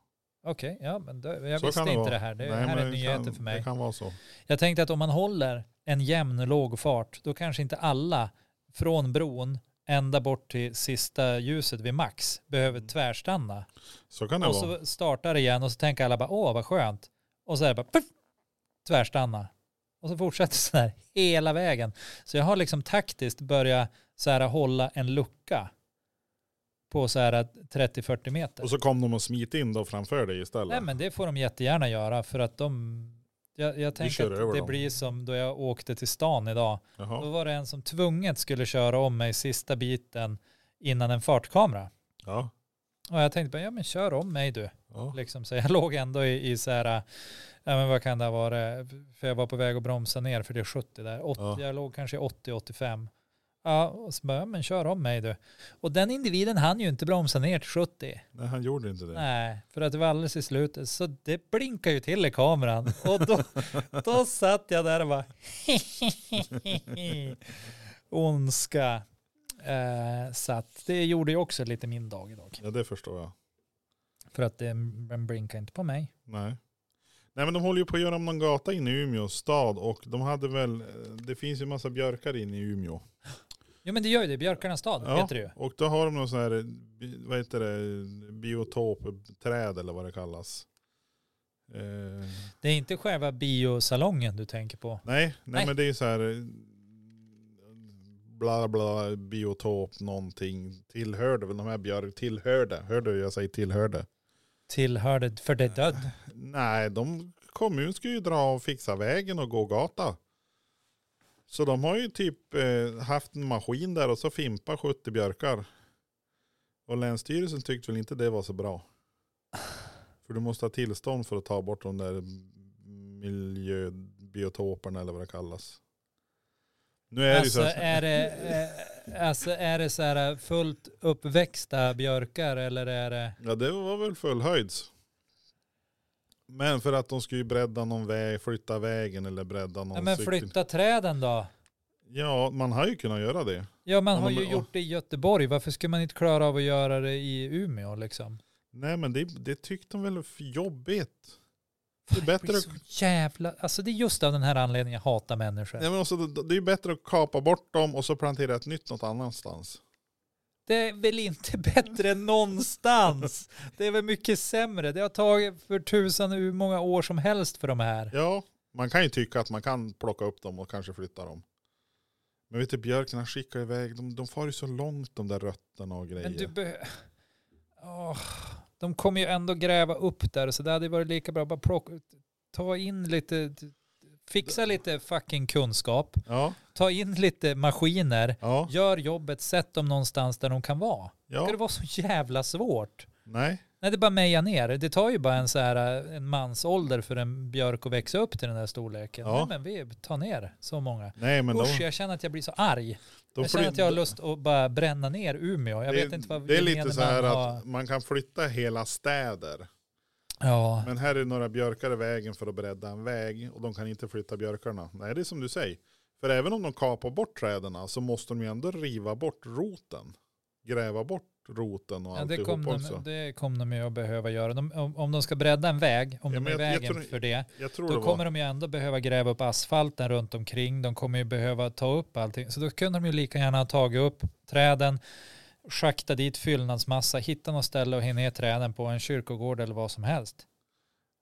Okej, ja men då, jag Så visste kan det inte vara. det här. Det Nej, här men är nyheter kan, för mig. Det kan vara så. Jag tänkte att om man håller en jämn låg fart, då kanske inte alla från bron ända bort till sista ljuset vid max behöver tvärstanna. Så Mm. kan det Och vara. så startar det igen och så tänker alla bara åh vad skönt. Och så är det bara puff, tvärstanna. Och så fortsätter <laughs> så här hela vägen. Så jag har liksom taktiskt börjat så här hålla en lucka på så här 30-40 meter. Och så kom de och smit in då framför dig istället. Nej men det får de jättegärna göra för att de jag, jag tänker kör över att det dem. blir som då jag åkte till stan idag. Då Jaha. var det en som tvunget skulle köra om mig sista biten innan en fartkamera. Ja. Och jag tänkte bara, ja men kör om mig du. Ja. Liksom. Så jag <laughs> låg ändå i, i så här, äh, ja men vad kan det ha varit, för jag var på väg att bromsa ner för det är 70 där. 80, Ja. Jag låg kanske i 80-85. Ja, och så bara, ja men kör om mig du. Och den individen hann ju inte bromsa ner till 70. Nej, han gjorde inte det. Nej, för att det var alldeles i slutet. Så det blinkade ju till i kameran. Och <laughs> då, då satt jag där och bara <laughs> ondska eh, satt. Det gjorde ju också lite min dag idag. Ja, det förstår jag. För att det, den blinkade inte på mig. Nej. Nej, men de håller ju på att göra om någon gata inne i Umeå stad och de hade väl, eh, det finns ju en massa björkar inne i Umeå. Jo men det gör ju det, Björkarnas stad Ja. heter det ju. Och då har de någon sån här, eh, bi- vad heter det, biotopträd eller vad det kallas. Eh, Det är inte själva biosalongen du tänker på. Nej, nej, Nej. men det är så här eh, bla bla biotop någonting tillhörde väl de här björk tillhörde. Hörde du jag säger tillhörde? Tillhörde för det död. Nej, de kommun ska ju dra och fixa vägen och gå gata. Så de har ju typ eh, haft en maskin där och så fimpa 70 björkar. Och länsstyrelsen tyckte väl inte det var så bra. För du måste ha tillstånd för att ta bort de där miljöbiotoperna eller vad det kallas. Nu är Alltså det ju så är här, det, eh, alltså är det så här fullt uppväxta björkar eller är det ja det var väl fullhöjds. Men för att de ska ju bredda någon väg, flytta vägen eller bredda någon Ja, men cykel- flytta träden då. Ja, man har ju kunnat göra det. Ja, man Ja, har men- ju och- gjort det i Göteborg. Varför skulle man inte klara av att göra det i Umeå liksom? Nej, men det, det tyckte de väl är för jobbigt. Det är bättre blir att, så jävla... Alltså det är just av den här anledningen jag hatar människor. nej, men också, det det är bättre att kapa bort dem och så plantera ett nytt något annanstans. Det är väl inte <laughs> bättre någonstans? Det är väl mycket sämre. Det har tagit för tusan hur många år som helst för de här. Ja, man kan ju tycka att man kan plocka upp dem och kanske flytta dem. Men vet du, björkarna skickar iväg, de, de far ju så långt de där rötterna och grejer. Men du behöver... de kommer ju ändå gräva upp där så det hade ju varit lika bra att bara plocka... Ta in lite... Fixa lite fucking kunskap. Ja, Ta in lite maskiner. ja, Gör jobbet, sätt dem någonstans där de kan vara. Ska ja, det vara så jävla svårt? nej, Nej, det är bara att meja ner. Det tar ju bara en, så här, eh, en mans ålder för en björk att växa upp till den där storleken. Ja. Nej, men vi tar ner så många. nej, men de, Usch, jag känner att jag blir så arg. de jag känner flyt- att jag har lust att bara bränna ner Umeå. Jag det, vet inte vad det är lite gemene så här man att man kan flytta hela städer. Ja, Men här är några björkar i vägen för att bredda en väg och de kan inte flytta björkarna. Nej, det är som du säger. För även om de kapar bort träden så måste de ju ändå riva bort roten. Gräva bort roten och ja det, alltihop kom de, också. det kommer de ju att behöva göra. De, om, om de ska bredda en väg, om Ja, de är men i jag- jag vägen tror- för det, Jag tror Då det var. kommer de ju ändå behöva gräva upp asfalten runt omkring. De kommer ju behöva ta upp allting. Så då kunde de ju lika gärna ha tagit upp träden, schakta dit fyllnadsmassa, hitta något ställe och hinna ner träden på en kyrkogård eller vad som helst.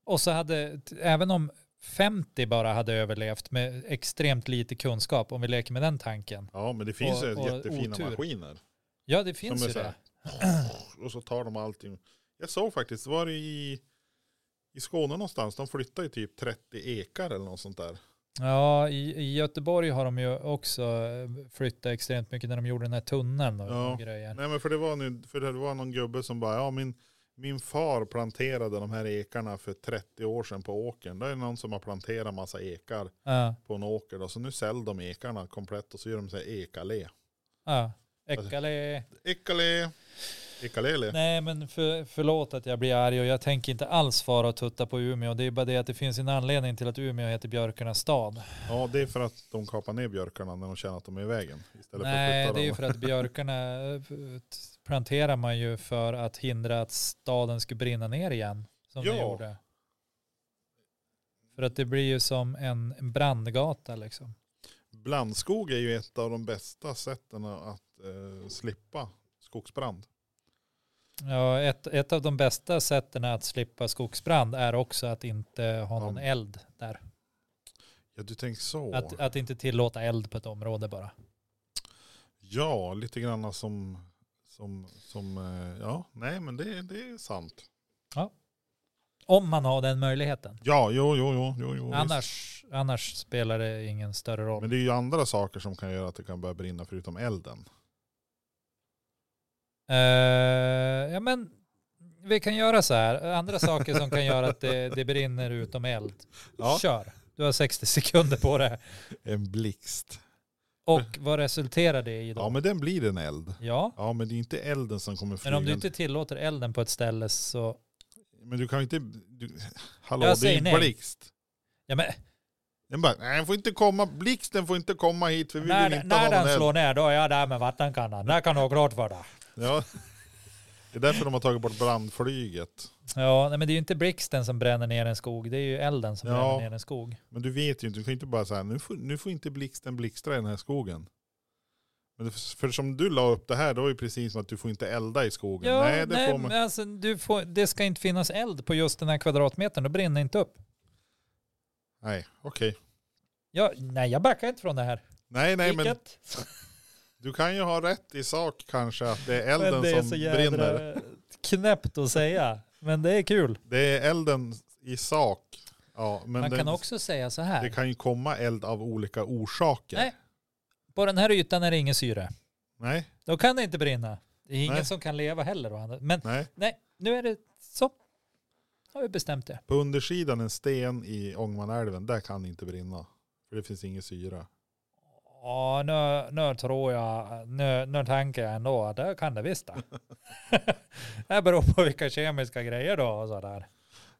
Och så hade, t- även om 50 bara hade överlevt med extremt lite kunskap, om vi leker med den tanken. Ja, men det finns och- ju och jättefina otur. maskiner. Ja, det finns är ju så det. här. Och så tar de allting. Jag såg faktiskt, var det i, i Skåne någonstans? De flyttar ju typ 30 ekar eller något sånt där. Ja, i, i Göteborg har de ju också eh, flyttat extremt mycket när de gjorde den här tunneln och Ja. grejer. Nej men för det var, nu, för det var någon gubbe som bara, ja min, Min far planterade de här ekarna för 30 år sedan på åkern. Det är någon som har planterat massa ekar Ja, på en åker. Då. Så nu säljer de ekarna komplett och så gör de så här ekalé. ja. Äckale. Ekalé. <laughs> Ekalele. Nej men för, förlåt att jag blir arg och jag tänker inte alls fara och tutta på Umeå. Det är bara det att det finns en anledning till att Umeå heter björkarnas stad. Ja, det är för att de kapar ner björkarna när de känner att de är i vägen. Istället Nej för att det är ju flytta för dem. att <laughs> björkarna eh, planterar man ju för att hindra att staden skulle brinna ner igen. Som det Ja. gjorde. För att det blir ju som en en brandgata liksom. Blandskog är ju ett av de bästa sätten att eh, slippa skogsbrand. Ja, ett, ett av de bästa sätten att slippa skogsbrand är också att inte ha någon Ja. eld där. Ja, du tänker så. Att, att inte tillåta eld på ett område bara. Ja, lite grann som, som, som eh, ja, nej men det, det är sant. Om man har den möjligheten. Ja, jo, jo, jo, jo, jo visst. Annars, annars spelar det ingen större roll. Men det är ju andra saker som kan göra att det kan börja brinna förutom elden. Eh, ja, men vi kan göra så här. Andra saker som kan göra att det, det brinner utom eld. Ja. Kör. Du har 60 sekunder på det. En blixt. Och vad resulterar det i då? Ja, men den blir en eld. Ja, Ja, men det är inte elden som kommer men om du flygande. inte tillåter elden på ett ställe så... Men du kan ju inte, du, hallå, Jag det säger är en nej. blixt. Ja, men Den bara, nej den får inte komma, blixten får inte komma hit för vi när vill inte när ha någon den eld. slår ner då är jag där med vattenkannan. När kan du ha klart för det? Ja. <laughs> Det är därför de har tagit bort brandflyget. Ja, nej, men det är ju inte blixten som bränner ner en skog. Det är ju elden som Ja. bränner ner en skog. Men du vet ju inte, du kan ju inte bara säga nu får, nu får inte blixten blixtra i den här skogen. Men det, för som du la upp det här, då var ju precis som att du får inte elda i skogen. Ja, nej, det får man. men alltså, du får, det ska inte finnas eld på just den här kvadratmetern. Då brinner det inte upp. Nej, okej. Ja, nej, jag backar inte från det här. Nej, nej, men Vilket? du kan ju ha rätt i sak kanske att det är elden men det är som så jädra brinner. knäppt att säga. Men det är kul. Det är elden i sak. Ja, men Man det, kan också säga så här. det kan ju komma eld av olika orsaker. Nej. På den här ytan är det ingen syre. Nej, Då kan det inte brinna. Det är ingen Nej. som kan leva heller. å andra- Men nej. nej, nu är det så. Har vi bestämt det. På undersidan en sten i Ångmanälven, där kan det inte brinna. För det finns ingen syra. Ja, nu, nu tror jag, nu, nu tänker jag ändå att det kan det visst <laughs> det. <laughs> det beror på vilka kemiska grejer då och sådär.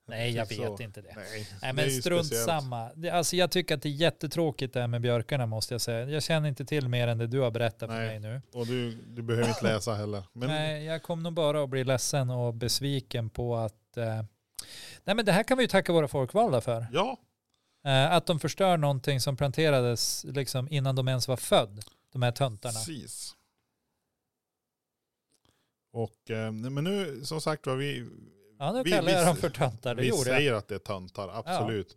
Nej, jag Precis vet så. inte det. Nej, Nej det är men ju strunt speciellt. samma. Det- Alltså jag tycker att det är jättetråkigt det här med björkarna måste jag säga. Jag känner inte till mer än det du har berättat för Nej. mig nu. Och du, du behöver inte läsa heller. Men Nej, jag kommer nog bara att bli ledsen och besviken på att... Eh, nej men det här kan vi ju tacka våra folkvalda för. ja, Eh, att de förstör någonting som planterades liksom innan de ens var född. De här töntarna. precis. Och, eh, nej, men nu, som sagt var, vi, Ja, nu Vi- kallar vi- jag dem för töntar. Det vi gjorde jag. säger att det är töntar, absolut.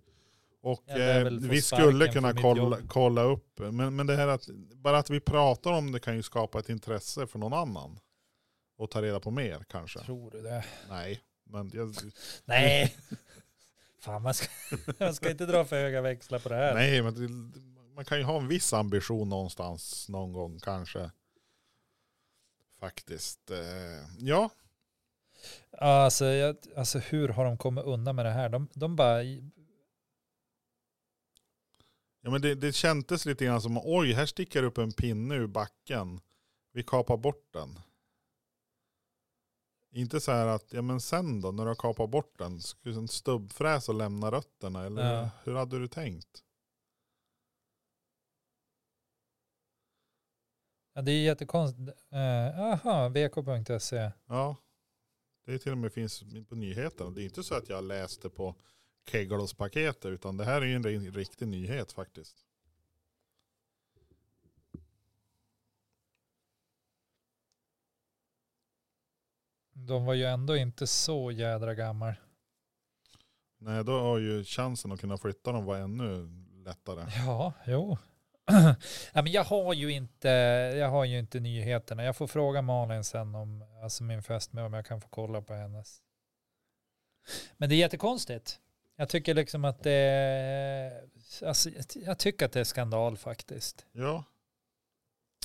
Och Jag lär eh, väl få vi sparken skulle för kunna mitt kolla, jobb. kolla upp, men, men det här att, bara att vi pratar om det kan ju skapa ett intresse för någon annan. Och ta reda på mer kanske. Tror du det? Nej, men jag, Nej! <laughs> Fan, man ska, <laughs> man ska inte dra för höga växlar på det här. nej, men det, man kan ju ha en viss ambition någonstans någon gång kanske. Faktiskt. Eh, ja, Ja, Alltså, jag, alltså hur har de kommit undan med det här? De, de bara, Ja, men det, det kändes lite grann som oj, här sticker upp en pinne ur backen. Vi kapar bort den. Inte så här att, ja men sen då, när du har kapat bort den, skulle en stubbfräs och lämna rötterna? Eller Ja. hur hade du tänkt? ja, det är eh, jättekonstigt. Jaha, vk.se. Ja, det är till och med finns på nyheterna. Det är inte så att jag läste på Keggelos paketet, utan det här är ju en ri- riktig nyhet faktiskt. De var ju ändå inte så jädra gammal. Nej, då har ju chansen att kunna flytta dem var ännu lättare. Ja, jo. <clears throat> ja, men jag har ju inte, jag har ju inte nyheterna. Jag får fråga Malin sen om, alltså min fästmö, om jag kan få kolla på hennes. Men det är jättekonstigt. Jag tycker liksom att det, alltså, jag tycker att det är skandal faktiskt. Ja,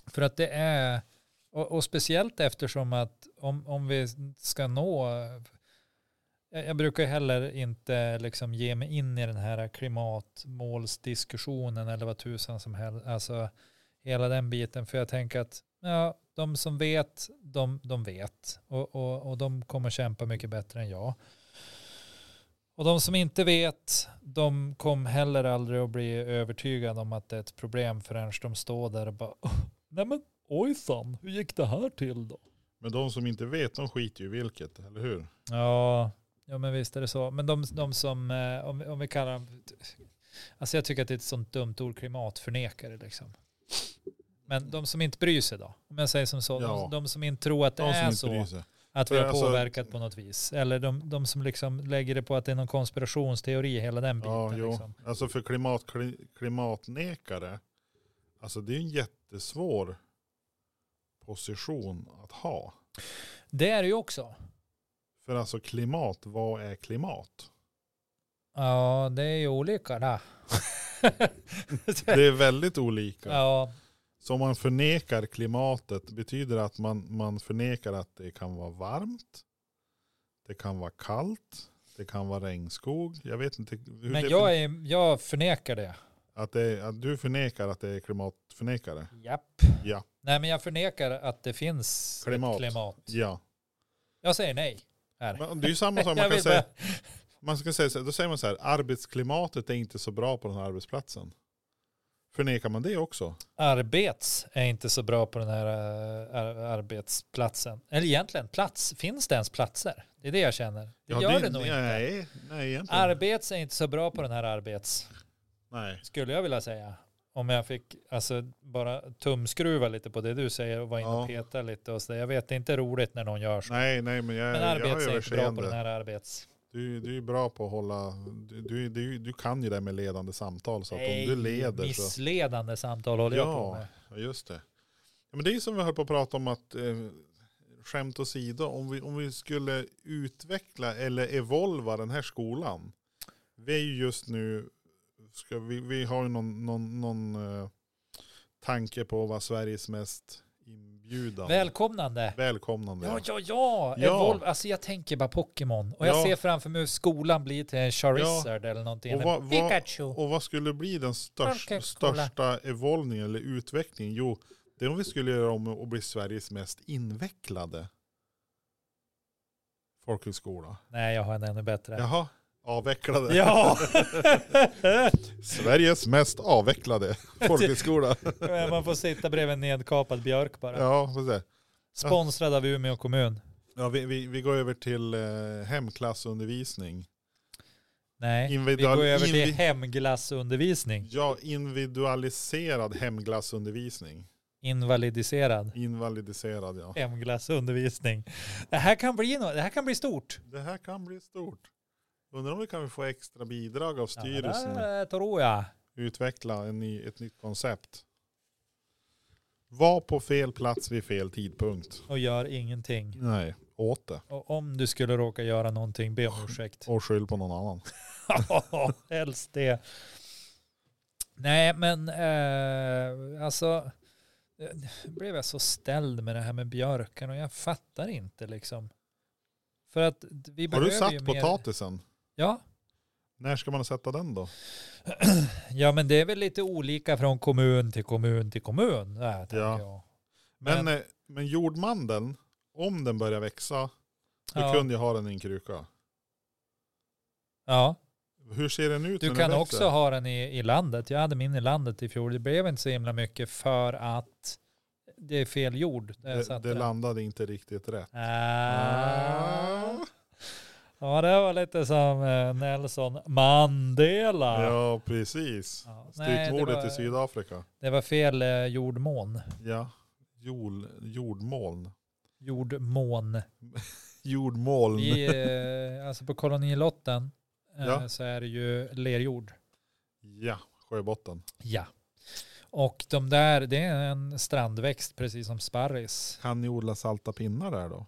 För att det är, och, och speciellt eftersom att om, om vi ska nå jag, jag brukar ju heller inte liksom ge mig in i den här klimatmålsdiskussionen eller vad tusan som helst. Alltså hela den biten. För jag tänker att ja, de som vet, de, de vet. Och, och, och de kommer kämpa mycket bättre än jag. Och de som inte vet, de kom heller aldrig att bli övertygade om att det är ett problem förrän de står där och bara, nej men ojsan, hur gick det här till då? Men de som inte vet, de skiter ju i vilket, eller hur? Ja, ja men visst är det så. Men de, de som, eh, om, vi- om vi kallar dem, alltså jag tycker att det är ett sånt dumt ord, klimatförnekare liksom. Men de som inte bryr sig då? Om jag säger som så, Ja. de, de som inte tror att det De som är inte bryr så, sig. att vi För har alltså- påverkat på något vis. Eller de, de som liksom lägger det på att det är någon konspirationsteori, hela den biten. Ja, jo. liksom. Alltså för klimat, kli- klimatnekare, alltså det är en jättesvår position att ha. Det är det ju också. För alltså klimat, vad är <laughs> klimat? Ja, det är ju olika <laughs> där. Det är väldigt olika. ja, Så om man förnekar klimatet betyder det att man, man förnekar att det kan vara varmt, det kan vara kallt, det kan vara regnskog. Jag vet inte hur men det jag, är, jag förnekar det. att, det, är- att du förnekar att det är klimatförnekare. Japp. Ja. Nej, men jag förnekar att det finns Klimat. klimat. klimat. Ja. Jag säger nej. Här. Men det är ju samma <laughs> sak man Jag kan vill säga. bara, Man ska säga så här, då säger man så här, arbetsklimatet är inte så bra på den här arbetsplatsen. Förnekar man det också? arbets är inte så bra på den här äh, ar- arbetsplatsen. Eller egentligen, plats. Finns det ens platser? Det är det jag känner. Det gör det, nog inte. nej, Nej, egentligen. Arbets är inte så bra på den här arbets, nej. skulle jag vilja säga. Om jag fick alltså, bara tumskruva lite på det du säger och vara inne Ja. och peta lite och så där. Jag vet, det är inte roligt när någon gör så. nej, nej, men jag, Men jag arbets är är inte bra överseende. på den här arbets. Du, du är bra på att hålla, du, du, du, du kan ju det här med ledande samtal så att Nej, om du leder så. missledande samtal håller jag på Ja, med. ja, just det. Ja, men det är ju som vi höll på att prata om att eh, skämt åsido, om vi, om vi skulle utveckla eller evolva den här skolan. Vi är ju just nu, ska vi, vi har ju någon, någon, någon eh, tanke på vad Sveriges mest inbjudande, Välkomnande. välkomnande. Ja, ja, ja. Ja. Evolve. Alltså jag tänker bara Pokémon. Och jag Ja. ser framför mig hur skolan blir till en Charizard eller någonting. Och En vad- vad- Pikachu. Och vad skulle bli den största, Folkhögskola. största evolvningen eller utvecklingen? Jo, det är om vi skulle göra om och bli Sveriges mest invecklade folkhögskola. Nej, jag har en ännu bättre. Jaha, avvecklade. Ja. <laughs> <laughs> Sveriges <laughs> mest avvecklade folkhögskola. Man får sitta bredvid en nedkapad björk bara. Ja, får se. Sponsrad av Umeå kommun. ja vi, vi, vi går över till eh, hemklassundervisning. Nej, Individual- vi går över till invi- hemglassundervisning. Ja, individualiserad hemglassundervisning. Invalidiserad. Invalidiserad, ja. Hemglassundervisning. Det här kan bli, no- det här kan bli stort. Det här kan bli stort. Undrar om vi kan få extra bidrag av Ja, styrelsen. det eh, tror jag. Utveckla en ny, ett nytt koncept. Var på fel plats vid fel tidpunkt. Och gör ingenting. Nej, åt det. Och om du skulle råka göra någonting, be om ursäkt. <laughs> Och skyll på någon annan. Ja, helst det. Nej, men eh, alltså, eh, blev jag så ställd med det här med björken och jag fattar inte liksom. För att vi Har behöver du ju satt mer... potatisen? Ja. När ska man sätta den då? ja, men det är väl lite olika från kommun till kommun till kommun. Äh, tänker Ja. jag. Men, eh, Men- men, men jordmandeln, om den börjar växa, då Ja. kunde jag ha den i en kruka. ja. Hur ser den ut Du när kan den växer? också ha den i, i landet. Jag hade min i landet i fjol. Det blev inte så himla mycket för att det är fel jord. där jag Det, satte det den. landade inte riktigt rätt. Ah. Ja, det var lite som eh, Nelson Mandela. Ja, precis. Ja, nej, det, Styckmordet var, i Sydafrika. det var fel eh, jordmån. Ja, Jol, jordmoln. Jordmån. Jordmoln. I, eh, alltså på kolonilotten eh, Ja. så är det ju lerjord. Ja, sjöbotten. Ja. Och de där, det är en strandväxt precis som sparris. Kan ni odla salta pinnar där då?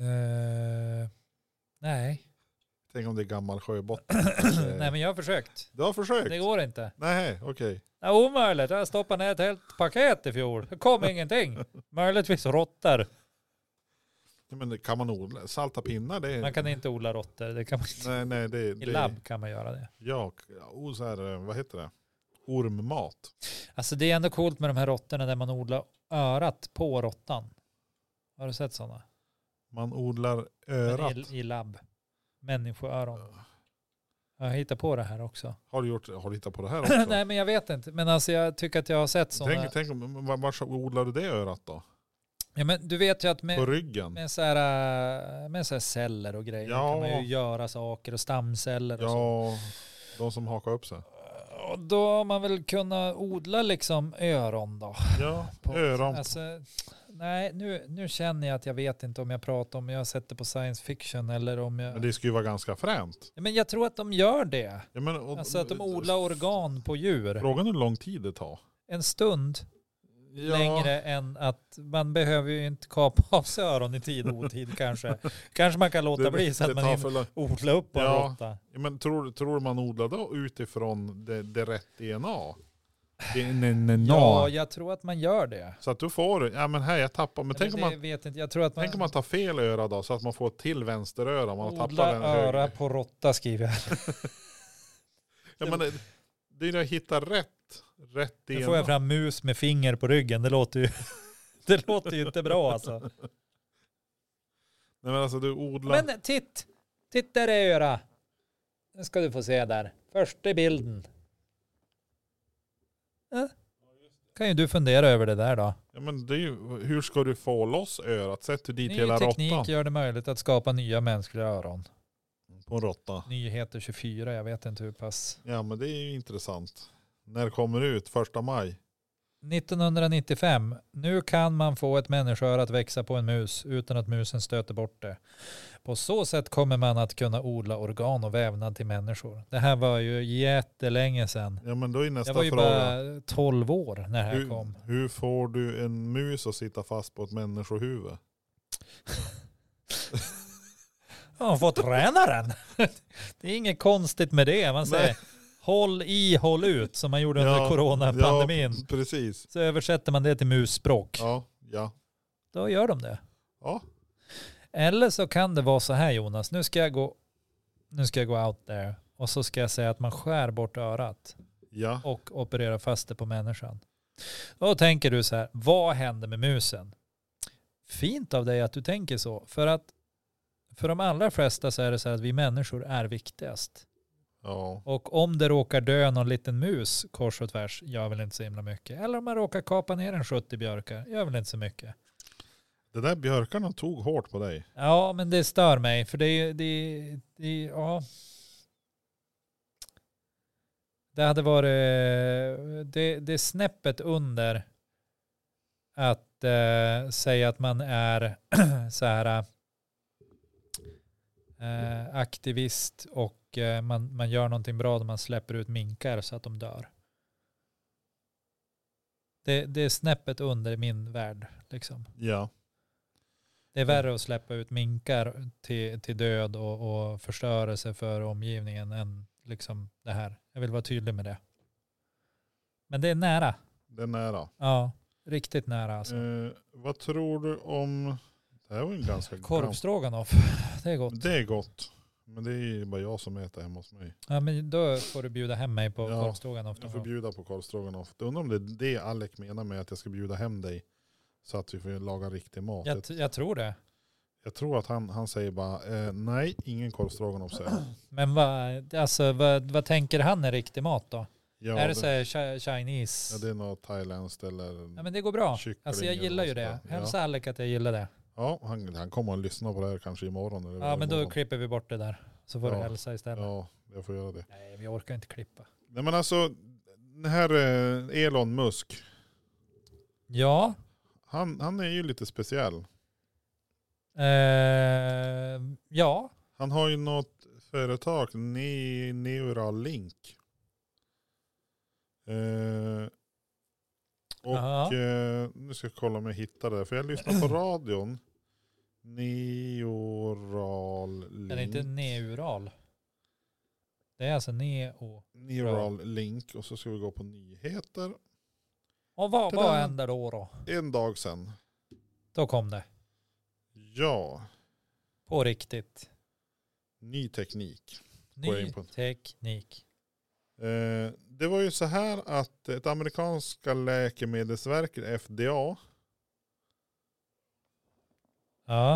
Eh, nej. Tänk om det är gammal sjöbotten. Eh, <clears throat> nej, men jag har försökt. Du har försökt? Det går inte. Nej, okej. Det är omöjligt. Jag stoppade <laughs> ner ett helt paket i fjol. Det kom ingenting. Möjligtvis råttor. Nej, Men det kan man odla? Salta pinnar det är... Man kan inte odla råttor. Det kan man inte. Nej, nej, det, det I labb kan man göra det. Ja, och oh, så här, eh, vad heter det? Ormmat. Alltså det är ändå coolt med de här råttorna där man odlar örat på råttan. Har du sett sådana? Man odlar örat. I, I labb. Människoöron. Jag hittar på det här också. Har du, gjort, har du hittat på det <clears throat> här också? Nej men jag vet inte. Men alltså jag tycker att jag har sett sådana. tänk, tänk, om- var, var odlar du det örat då? Ja men du vet ju att På med, ryggen? med, så här, äh, med så här celler och grejer Ja. kan man ju göra saker och stamceller och så. Ja, de som hakar upp sig. <clears throat> Och då har man väl kunnat odla liksom öron då. Ja, På- öron. Alltså, nej, nu, nu känner jag att jag vet inte om jag pratar om jag har sett det på science fiction eller om jag... Men det skulle ju vara ganska fränt. Men jag tror att de gör det. Ja, men, och, Alltså att de odlar organ på djur. Frågan är hur lång tid det tar. En stund Ja, längre än att man behöver ju inte kapa av sig öron i tid och otid <laughs> kanske. Kanske man kan låta det- bli så det att man tar hinner för lång- odla upp en Ja. råtta. Ja, men tror, tror man odlar då utifrån det, det rätt DNA? Det, ne, ne, na. Ja, jag tror att man gör det. Så att du får, ja men här jag tappar, men, tänk, Men om det man, vet inte. Jag tror att man, tänk om man tar fel öra då så att man får ett till vänsteröra. om Man har odlar tappat den öra högra. på råtta skriver jag. Ja, men det, det är ju att hitta rätt, rätt Nu DNA. får jag fram mus med finger på ryggen. Det låter ju, <laughs> det låter ju inte bra alltså. Nej, men alltså du odlar. Men titt! Titt där är öra. Nu ska du få se där. Första bilden. Ja. Kan ju du fundera över det där då. Ja, men det är ju, hur ska du få loss örat? Sätter du dit Ny hela teknik råttan? gör det möjligt att skapa nya mänskliga öron. På en råtta. Nyheter 24, jag vet inte hur pass. Ja men det är ju intressant. När det kommer ut? Första maj? 1995. Nu kan man få ett människoöra att växa på en mus utan att musen stöter bort det. På så sätt kommer man att kunna odla organ och vävnad till människor. Det här var ju jättelänge sedan. Ja men då är nästa Jag var ju fråga. bara 12 år när det här kom. Hur, hur får du en mus att sitta fast på ett människohuvud? Ja, få träna den. <laughs> Det är inget konstigt med det. Man säger Nej. håll i, håll ut som man gjorde under Ja, coronapandemin. Ja, precis. Så översätter man det till musspråk. Ja, ja. Då gör de det. Ja. Eller så kan det vara så här Jonas, nu ska jag gå, nu ska jag gå out there och så ska jag säga att man skär bort örat ja. och opererar fast det på människan. Då tänker du så här, vad händer med musen? Fint av dig att du tänker så, för att för de allra flesta så är det så här att vi människor är viktigast. ja. Och om det råkar dö någon liten mus kors och tvärs gör väl inte så himla mycket. Eller om man råkar kapa ner en 70 björkar gör väl inte så mycket. Det där björkarna tog hårt på dig. Ja, men det stör mig. För det är det, det, ja. Det hade varit, det, det är snäppet under att eh, säga att man är <clears throat> så här eh, aktivist och eh, man, man gör någonting bra när man släpper ut minkar så att de dör. Det, det är snäppet under i min värld liksom. Ja. Det är värre att släppa ut minkar till, till död och, och förstörelse för omgivningen än liksom det här. Jag vill vara tydlig med det. Men det är nära. Det är nära. Ja, riktigt nära alltså. Eh, vad tror du om... Det här var en ganska... Korvstroganoff, <laughs> det är gott. Det är gott. Men det är ju bara jag som äter hemma hos mig. Ja, men då får du bjuda hem mig på Ja, korvstroganoff. Jag någon får gång. bjuda på korvstroganoff. Jag Undrar om det är det Alec menar med att jag ska bjuda hem dig. Så att vi får laga riktig mat. Jag, Jag, t- jag tror det. jag tror att han, han säger bara eh, nej, ingen korvstroganoff <clears throat> säger han. Men vad, alltså, vad, vad tänker han är riktig mat då? Ja, är det, så här chi- Chinese? ja, det är något thailändskt eller... Ja, men det går bra. Kyckling Alltså jag gillar ju och det. sådär. Ja. Hälsa Alec att jag gillar det. Ja, han, han kommer att lyssna på det här kanske imorgon. Eller Ja men då övermorgon. klipper vi bort det där. Så får du Ja. hälsa istället. Ja, jag får göra det. Nej, vi orkar inte klippa. Nej men alltså, den här eh, Elon Musk, Ja, han, han är ju lite speciell. eh, ja, Han har ju något företag, ne Neuralink. Eh, Aha. och eh, nu ska jag kolla om jag hittar det, för <clears throat> jag lyssnar på radion. Neuralink. den är inte neural. Det är alltså neo. Neural Link och så ska vi gå på nyheter. Och vad, Ta-da. vad händer då då? En dag sedan. Då kom det. Ja, På riktigt. ny teknik. Går jag Ny in på. teknik. Eh, det var ju så här att ett amerikanska läkemedelsverket, FDA, Ja,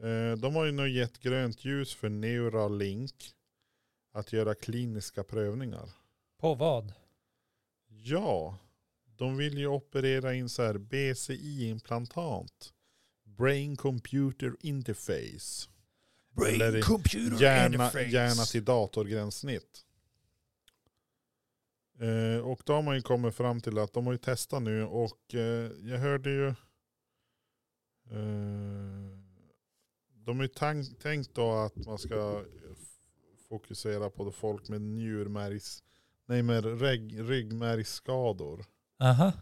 eh, de har ju nu gett grönt ljus för Neuralink att göra kliniska prövningar. på vad? Ja, de vill ju operera in så här BCI-implantat. Brain Computer Interface. Eller computer Hjärna, hjärna till datorgränssnitt. Eh, och då har man ju kommit fram till att de har ju testat nu och eh, jag hörde ju eh, de har ju tank, tänkt då att man ska f- fokusera på då folk med njurmärgs, nej med reg, ryggmärgsskador. Aha.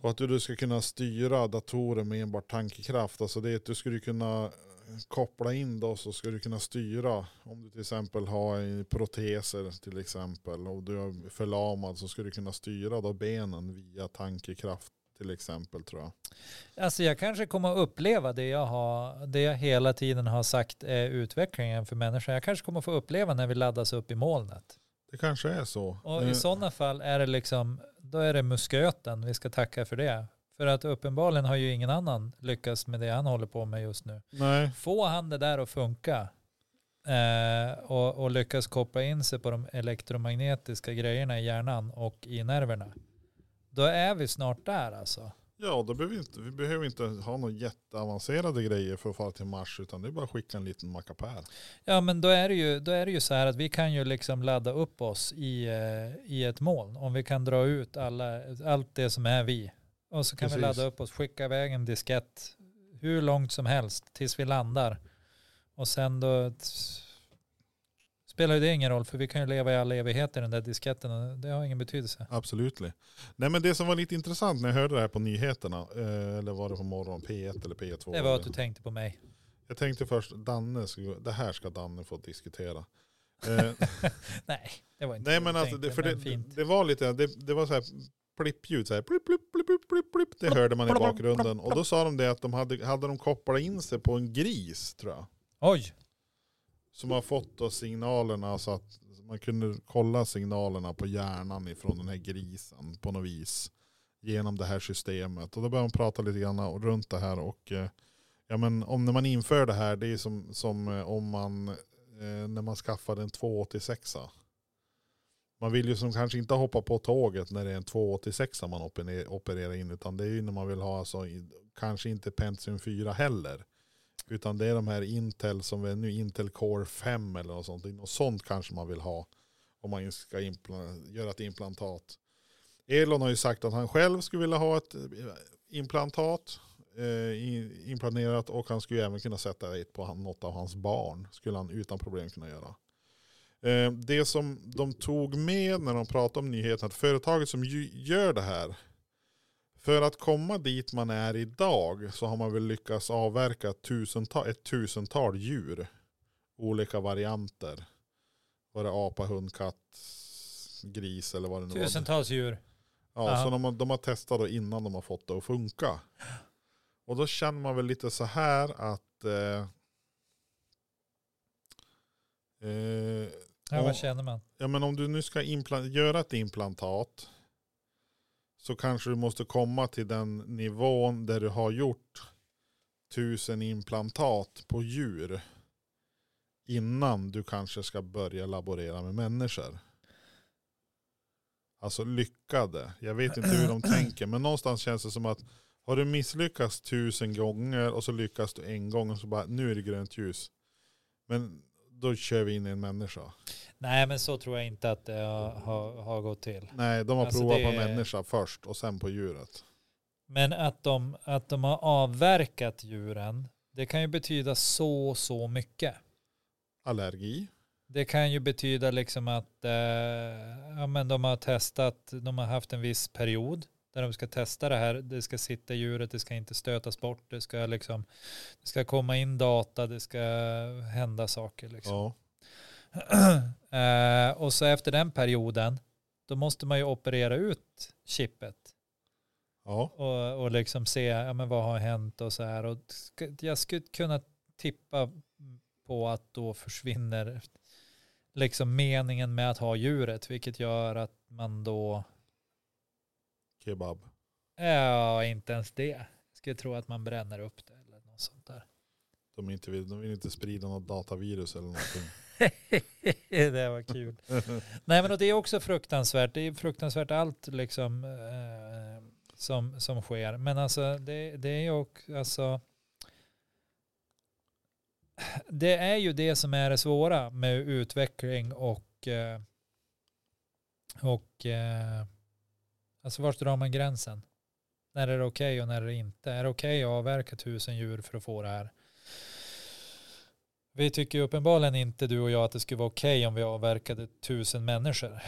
Och att du då ska kunna styra datorer med enbart tankekraft. Alltså det är att du skulle kunna eh, koppla in då så ska du kunna styra. Om du till exempel har en proteser till exempel och du är förlamad så ska du kunna styra då benen via tankekraft till exempel tror jag. Alltså jag kanske kommer att uppleva det jag, har, det jag hela tiden har sagt är utvecklingen för människan. Jag kanske kommer att få uppleva när vi laddas upp i molnet. Det kanske är så. Och Eh, i sådana fall är det liksom, då är det musköten vi ska tacka för det. För att uppenbarligen har ju ingen annan lyckats med det han håller på med just nu. Nej, Får han det där att funka eh, och, och lyckas koppla in sig på de elektromagnetiska grejerna i hjärnan och i nerverna, då är vi snart där alltså. ja då behöver vi inte, vi behöver inte ha några jätteavancerade grejer för att fara till Mars utan det är bara att skicka en liten mackapär. Ja men då är, det ju, då är det ju så här att vi kan ju liksom ladda upp oss i, eh, i ett moln. Om vi kan dra ut alla, allt det som är vi. Och så kan vi Precis. ladda upp oss, skicka iväg en diskett hur långt som helst tills vi landar. Och sen då t- spelar ju det ingen roll för vi kan ju leva i all evighet i den där disketten och det har ingen betydelse. Absolut. Nej men det som var lite intressant när jag hörde det här på nyheterna, eh, eller var det på morgon P1 eller P2? Det var att du tänkte på mig. Jag tänkte först, Danne, ska, det här ska Danne <laughs> få diskutera. Eh, Nej, det var inte nej du men alltså, tänkte, det, för det, men fint. det var lite, det, det var så här plippljud, så här, plipp, plipp, plipp, plipp, plipp, plipp, det hörde man i bakgrunden. Och då sa de det att de hade, hade de kopplat in sig på en gris tror jag. Oj, Som har fått då signalerna så att man kunde kolla signalerna på hjärnan ifrån den här grisen på något vis. Genom det här systemet. Och då började man prata lite grann och- runt det här. Och eh, ja, men om när man inför det här, det är som, som eh, om man eh, när man skaffade en 286. Man vill ju som kanske inte hoppa på tåget när det är en 286 man opene- opererar in. Utan det är ju när man vill ha alltså, i- kanske inte Pentium 4 heller. Utan det är de här Intel som är nu Intel Core 5 eller något sånt. Något sånt kanske man vill ha om man ska impla- göra ett implantat. Elon har ju sagt att han själv skulle vilja ha ett eh, implantat eh, i- implanterat och han skulle ju även kunna sätta ett på han- något av hans barn. Skulle han utan problem kunna göra. Eh, Det som de tog med när de pratade om nyheten, att företaget som ju- gör det här, för att komma dit man är idag så har man väl lyckats avverka tusental, ett tusental djur. Olika varianter. Var det apa, hund, katt, gris eller vad det nu var. tusentals djur. Ja, Ja. så de, har- de har testat då innan de har fått det att funka. Och då känner man väl lite så här att eh, eh, Ja, Och- vad känner man? ja, men om du nu ska implan- göra ett implantat så kanske du måste komma till den nivån där du har gjort tusen implantat på djur innan du kanske ska börja laborera med människor. Alltså lyckade. Jag vet inte hur de tänker men någonstans känns det som att har du misslyckats tusen gånger och så lyckas du en gång och så bara nu är det grönt ljus. Men då kör vi in i en människa. Nej men så tror jag inte att det har, har, har gått till. Nej, de har Alltså, provat det på är- människa först och sen på djuret. Men att de, att de har avverkat djuren, det kan ju betyda så, så mycket. Allergi. Det kan ju betyda liksom att eh, ja, men de har testat, de har haft en viss period där de ska testa det här. Det ska sitta i djuret, det ska inte stötas bort, det ska, liksom, det ska komma in data, det ska hända saker. Liksom. Ja. Eh, och så efter den perioden, då måste man ju operera ut chippet. Ja. och, och liksom se ja, men vad har hänt och så här. Och sk- jag skulle kunna tippa på att då försvinner liksom meningen med att ha djuret, vilket gör att man då, Kebab. ja inte ens det, jag skulle tro att man bränner upp det eller något sånt där. De, inte vill, de vill inte sprida något datavirus <laughs> eller någonting. <laughs> det var kul. <laughs> Nej men och det är också fruktansvärt. Det är fruktansvärt allt liksom eh, som, som sker. Men alltså det, det är ju också, alltså det är ju det som är det svåra med utveckling och eh, och eh, alltså vart drar man gränsen? När är det okej och när är det inte? Är det okej att avverka tusen djur för att få det här? Vi tycker ju uppenbarligen inte du och jag att det skulle vara okej om vi avverkade tusen människor.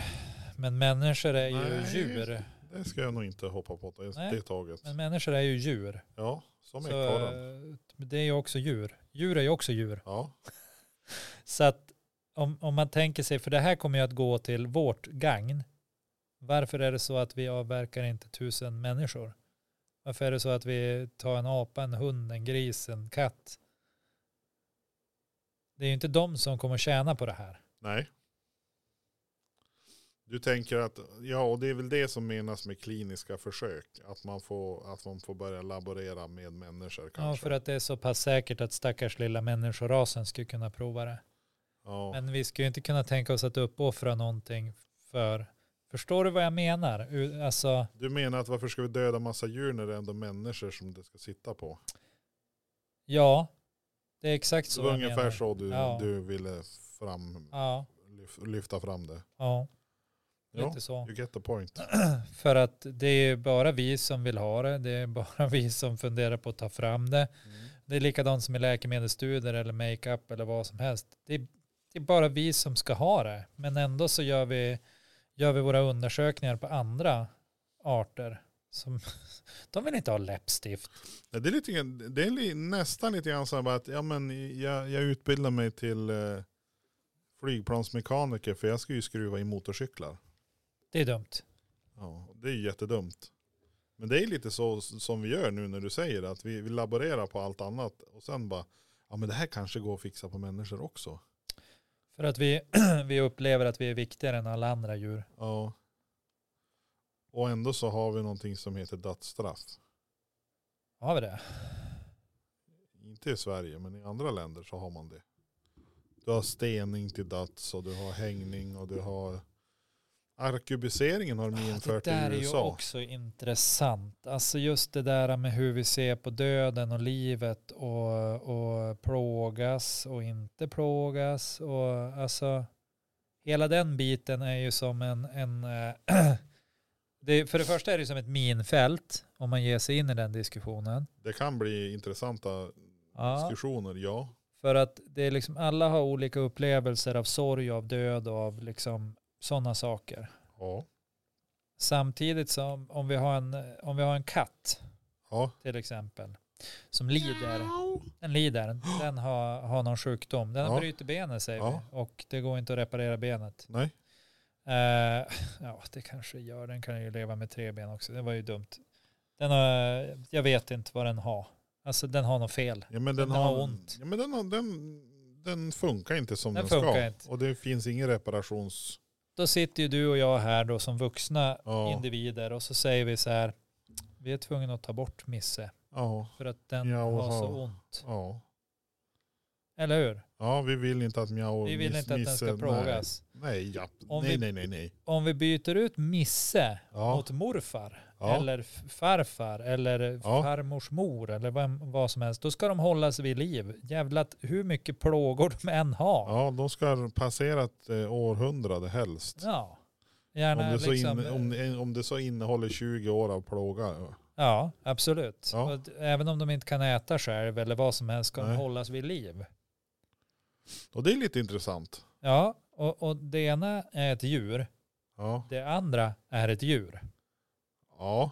Men människor är ju Nej. djur. Det ska jag nog inte hoppa på. Det, Nej. det taget. Men människor är ju djur. Ja, som Så, ekorren. eh, det är ju också djur. Djur är ju också djur. Ja. Så att om, om man tänker sig, för det här kommer ju att gå till vårt gagn. Varför är det så att vi avverkar inte tusen människor? Varför är det så att vi tar en apa, en hund, en gris, en katt? Det är ju inte de som kommer tjäna på det här. Nej. Du tänker att, ja och det är väl det som menas med kliniska försök. Att man får, att man får börja laborera med människor Ja, kanske. för att det är så pass säkert att stackars lilla människorasen skulle kunna prova det. Ja. Men vi ska ju inte kunna tänka oss att uppoffra någonting för... Förstår du vad jag menar? U- Alltså, Du menar att varför ska vi döda massa djur när det är ändå människor som det ska sitta på? ja. Det är exakt Det så var jag ungefär menar. så du, Ja. du ville fram, Ja, lyf, lyfta fram det. ja. Ja, Lite så. You get the point. För att det är bara vi som vill ha det. Det är bara <laughs> vi som funderar på att ta fram det. Det är likadant som i läkemedelsstudier eller makeup eller vad som helst. Det är, det är bara vi som ska ha det. Men ändå så gör vi, gör vi våra undersökningar på andra arter. Som, <laughs> de vill inte ha läppstift. Ja, Det är, lite, grann- det är li, nästan lite grann så här bara att ja, men jag, jag utbildar mig till eh, flygplansmekaniker för jag ska ju skruva i motorcyklar. Det är dumt. Ja, det är ju jättedumt. Men det är lite så s- som vi gör nu när du säger det, att vi, vi laborerar på allt annat och sen bara, ja men det här kanske går att fixa på människor också. För att vi, <clears throat> vi upplever att vi är viktigare än alla andra djur. Ja. Och ändå så har vi någonting som heter dödsstraff. Har vi det? Inte i Sverige, men i andra länder så har man det. Du har stening till döds och du har hängning och du har arkebuseringen har de Ah, infört det där är i ju USA. också intressant. Alltså just det där med hur vi ser på döden och livet och, och plågas och inte plågas. Och alltså hela den biten är ju som en... en eh, <clears throat> det, för det första är det ju som ett minfält om man ger sig in i den diskussionen. Det kan bli intressanta Ja. diskussioner, ja. För att det är liksom, alla har olika upplevelser av sorg, av död och av liksom sådana saker. Ja. Samtidigt som om vi har en, om vi har en katt ja. till exempel som lider. Den lider. Den har, har någon sjukdom. Den Ja. bryter benet säger Ja. vi och det går inte att reparera benet. Nej. Eh, ja, det kanske gör. Den kan ju leva med tre ben också. Det var ju dumt. Den har, jag vet inte vad den har. Alltså den har något fel. Ja, men den, Den har, har ont. Ja, men den, har, den, den funkar inte som den, Den ska. funkar inte. Och det finns ingen reparations... Då sitter ju du och jag här då som vuxna Ja. individer och så säger vi så här. Vi är tvungna att ta bort Misse Ja. för att den Ja, och har så har- ont. Ja. Eller hur? ja, vi vill inte att Mjau Vi vill miss- inte att den missar- ska plågas. Nej, nej, ja. Om nej, vi- nej, nej, nej. Om vi byter ut Misse Ja. mot morfar Ja. eller f- farfar eller Ja. farmors mor eller vem, vad som helst, då ska de hållas vid liv. Jävlat hur mycket plågor de än har. Ja. Ja, de ska passera ett eh, århundrade helst. Om Gärna det, så liksom, in, om, om det så innehåller 20 år av plåga. Ja, absolut. Ja. Och d- även om de inte kan äta själv eller vad som helst ska Nej. de hållas vid liv. Och det är lite intressant. Ja, och, och det ena är ett djur, Ja. det andra är ett djur. ja.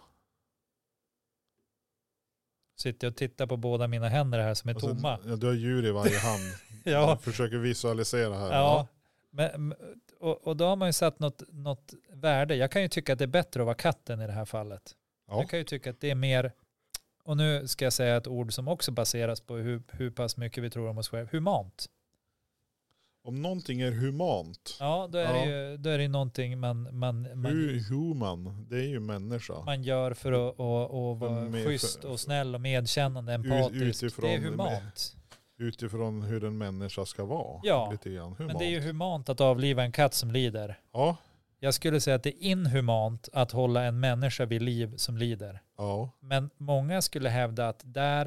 Sitter jag och tittar på båda mina händer här som är Och sen- <laughs> tomma. Alltså, ja, du har djur i varje hand. <laughs> Ja. Jag försöker visualisera här. Ja, men, men- och, och då har man ju satt något, något värde. Jag kan ju tycka att det är bättre att vara katten i det här fallet. Ja. Jag kan ju tycka att det är mer, och nu ska jag säga ett ord som också baseras på hur, hur pass mycket vi tror om oss själva, humant. Om någonting är humant, Ja, då är, Ja. Det, ju, då är det ju någonting man, man, man, hu- human, det är ju människa. man gör för att, att, att vara Men med- schysst och snäll och medkännande, Ut- empatisk. utifrån det är det med- humant. Utifrån hur en människa ska vara. Ja, Lite grann. Humant. Men det är ju humant att avliva en katt som lider. Ja, Jag skulle säga att det är inhumant att hålla en människa vid liv som lider. ja. Men många skulle hävda att där,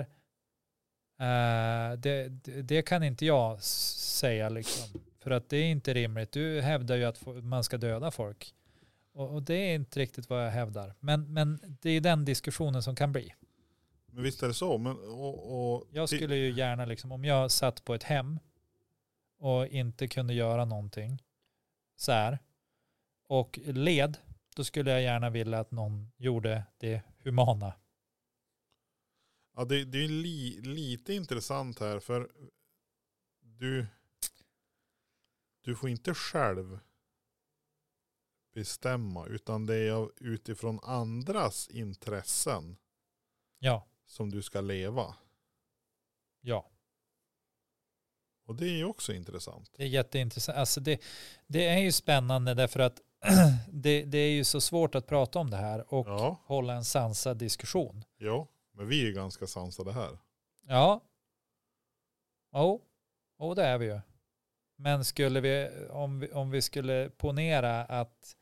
eh, det, det, det kan inte jag s- säga liksom. För att det är inte rimligt. Du hävdar ju att fo- man ska döda folk. Och, och det är inte riktigt vad jag hävdar. Men, men det är den diskussionen som kan bli. Men visst är det så. Men, och, och, Jag skulle ju gärna, liksom, om jag satt på ett hem och inte kunde göra någonting så här och led, då skulle jag gärna vilja att någon gjorde det humana. Ja, det, det är li, lite intressant här för du, du får inte själv bestämma utan det är av- utifrån andras intressen Ja, som du ska leva. ja. Och det är ju också intressant. Det är jätteintressant. Alltså det, det är ju spännande därför att <clears throat> det, det är ju så svårt att prata om det här och Ja, hålla en sansad diskussion. ja, men vi är ju ganska sansade här. Ja. Jo, oh. det är vi ju. Men skulle vi, om vi, om vi skulle ponera att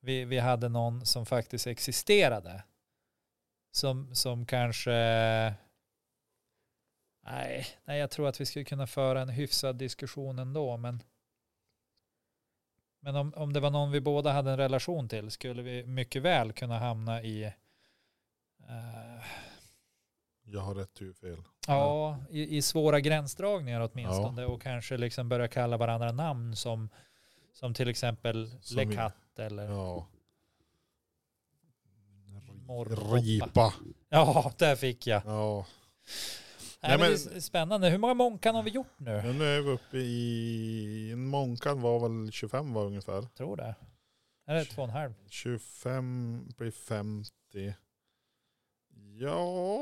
vi, vi hade någon som faktiskt existerade, som, som kanske... Nej, nej, jag tror att vi skulle kunna föra en hyfsad diskussion ändå, men... Men om, om det var någon vi båda hade en relation till skulle vi mycket väl kunna hamna i... eh, Jag har rätt huvud fel. Ja, i, i svåra gränsdragningar åtminstone och kanske liksom börja kalla varandra namn som, som till exempel Som Le vi- Cat eller ja. Ja. Morrhoppa. Ripa. där fick jag. Ja. Nej, Nej, men, men- det är s- spännande. Hur många Monkan har vi gjort nu? Men nu är vi uppe i, en mångkan var väl 25 var ungefär. Jag tror det. Eller två och en halv. 25 blir 50. Ja,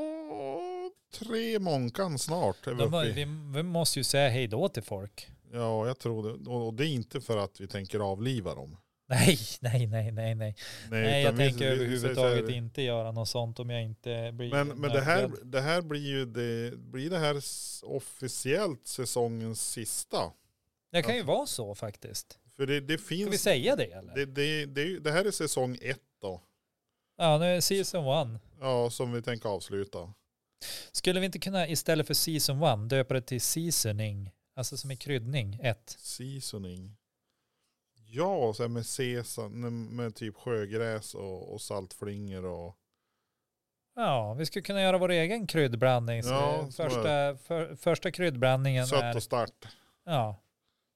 tre Månkan snart är vi De, har- uppe i. vi, vi måste ju säga hej då till folk. <laughs> Ja, jag tror det. Och och det är inte för att vi tänker avliva dem. Nej, nej, nej, nej, nej. Nej, utan jag vi- tänker vi- vi överhuvudtaget säger- inte göra något sånt om jag inte blir Men, men det, här, nödgad. det här blir ju det, blir det här s- officiellt säsongens sista. Det kan ju vara så faktiskt. För det, det Ska vi finns, säga det eller? det, det, det, det här är säsong ett då. Ja, nu är det season one. Ja, som vi tänker avsluta. Skulle vi inte kunna istället för season one döpa det till seasoning? Alltså som i kryddning, ett. Seasoning. Ja, så här med sesam, med typ sjögräs och, och saltflingor och Ja, vi skulle kunna göra vår egen kryddblandning. Så Ja, så är första, för, första kryddblandningen sött är och starkt. ja,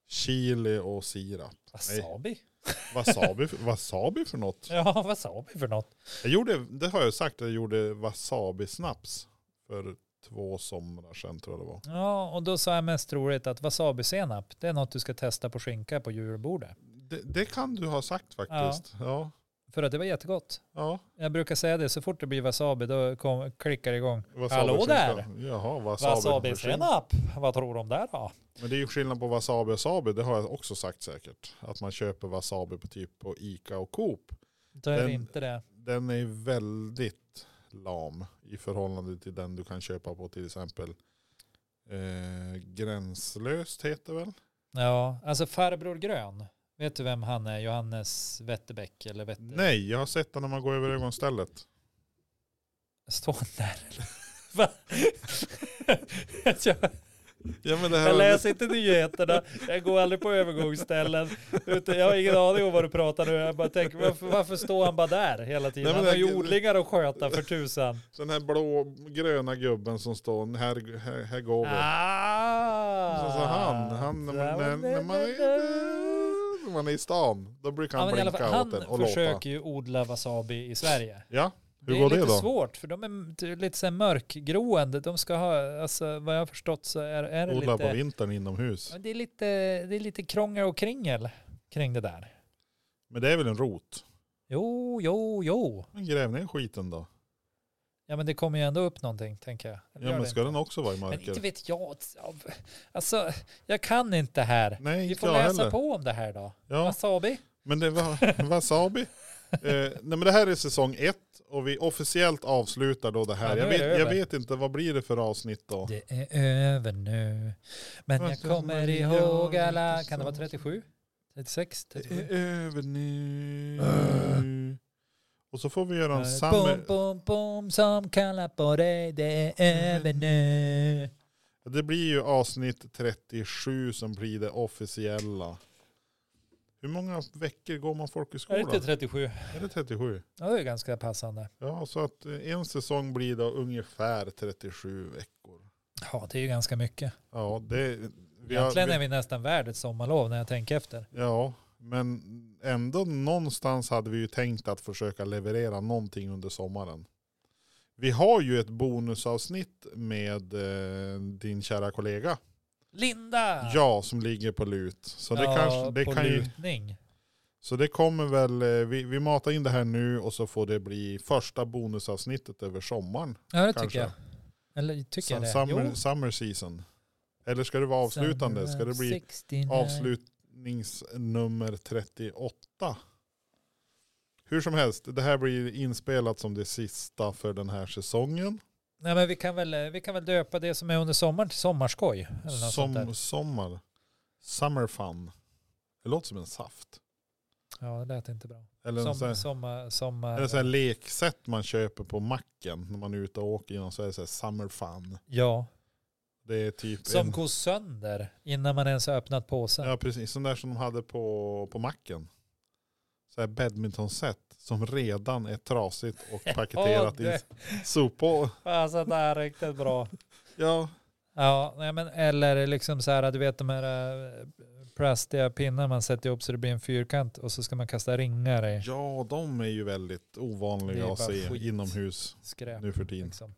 Chili och sirap. wasabi. Wasabi, för- <laughs> wasabi för något? Ja, wasabi för något. Jag gjorde, det har jag sagt, jag gjorde wasabi-snaps för två somrar sedan tror jag det var. Ja, och då sa jag mest troligt att wasabi-senap, det är något du ska testa på skinka på julbordet. Det, det kan du ha sagt faktiskt. Ja. För att det var jättegott. ja. Jag brukar säga det, så fort det blir wasabi då kom, klickar det igång. Wasabi Hallå för- där! Jaha, wasabi. Wasabi Wasabi-senap, vad tror du om det då? Men det är ju skillnad på wasabi och sabi, det har jag också sagt säkert. Att man köper wasabi på typ på Ica och Coop. Då är det Den- inte det. den är väldigt lam i förhållande till den du kan köpa på till exempel eh, Gränslöst heter väl? Ja, alltså farbror grön. Vet du vem han är? Johannes Wetterbäck eller Wetter... Nej, jag har sett den när man går över ögonstället. Står han där? <laughs> Va? jag, Ja, men det jag här, läser inte nyheterna, jag går aldrig på övergångsställen. Utan jag har ingen aning om vad du pratar nu. Jag bara tänker, varför, varför står han bara där hela tiden? Nej, men han har ju det- odlingar att sköta för <laughs> tusan. den här blå gröna gubben som står, här, här, här går vi. Ah! Så, så han, han när, man- när, när, man är, när man är i stan, då brukar Ja, han men i alla blinka fall, åt en han och låta. försöker ju odla wasabi i Sverige. Ja, hur det går är det lite då? svårt för de är t- lite så här mörkgroende. De ska ha, alltså vad jag har förstått så är, är det Odla på lite, vintern inomhus. Ja, det är lite, det är lite krångel och kringel kring det där. Men det är väl en rot? Jo, jo, jo. Men gräv ner skiten då. Ja men det kommer ju ändå upp någonting tänker jag. Eller Ja gör men det ska inte? den också vara i Men inte mörker? vet jag. Alltså, jag kan inte här. Nej, Vi inte får jag läsa heller. på om det här då. Ja, Wasabi? men det var <laughs> wasabi. eh, nej men det här är säsong ett och vi officiellt avslutar då det här. Ja, nu jag, är det vet, jag över. vet inte, vad blir det för avsnitt då? Det är över nu. Men jag kommer ihåg alla... Kan det vara 37? 36? Det är 37? över Äh. nu. Och så får vi göra en Bom, summer. bom, bom som kallar på dig. Det är över nu. Det blir ju avsnitt 37 som blir det officiella. Hur många veckor går man Är det folkhögskola? inte 37? Är det 37? Ja, det är ganska passande. Ja, så att eh, en säsong blir då ungefär 37 veckor. Ja, det är ju ganska mycket. Ja, det... vi har- Egentligen vi- är vi nästan värd ett sommarlov när jag tänker efter. Ja, men ändå någonstans hade vi ju tänkt att försöka leverera någonting under sommaren. Vi har ju ett bonusavsnitt med eh, din kära kollega. Linda! Ja, som ligger på lut. Så det, Ja, kanske, det, på kan ju, lutning. så det kommer väl, eh, vi, vi matar in det här nu och så får det bli första bonusavsnittet över sommaren. Ja, det Kanske. tycker jag. Eller tycker jag det? Summer, Jo. summer season. Eller ska det vara avslutande? Ska det bli 69. avslutningsnummer 38. Hur som helst, det här blir inspelat som det sista för den här säsongen. Nej men vi kan, väl, vi kan väl döpa det som är under sommaren till sommarskoj. Eller något sånt där. Som sommar. Summer fun. Det låter som en saft. Ja det lät inte bra. Eller en sån Som, här, som, som, eller en sån här leksätt man köper på macken när man är ute och åker genom så är det så här summer fun. ja, Det är typ som en, går sönder innan man ens har öppnat påsen. Ja precis, sån där som de hade på, på macken. Så här badmintonset som redan är trasigt <laughs> och Ja, paketerat <laughs> i det, sopor. alltså det här är riktigt bra. Ja, Ja, nej, men eller liksom så här, du vet de här eh, plastiga pinnar man sätter ihop så det blir en fyrkant och så ska man kasta ringar i Ja, de är ju väldigt Det är ovanliga bara att se skit. inomhus skräp. nu för tiden. Liksom.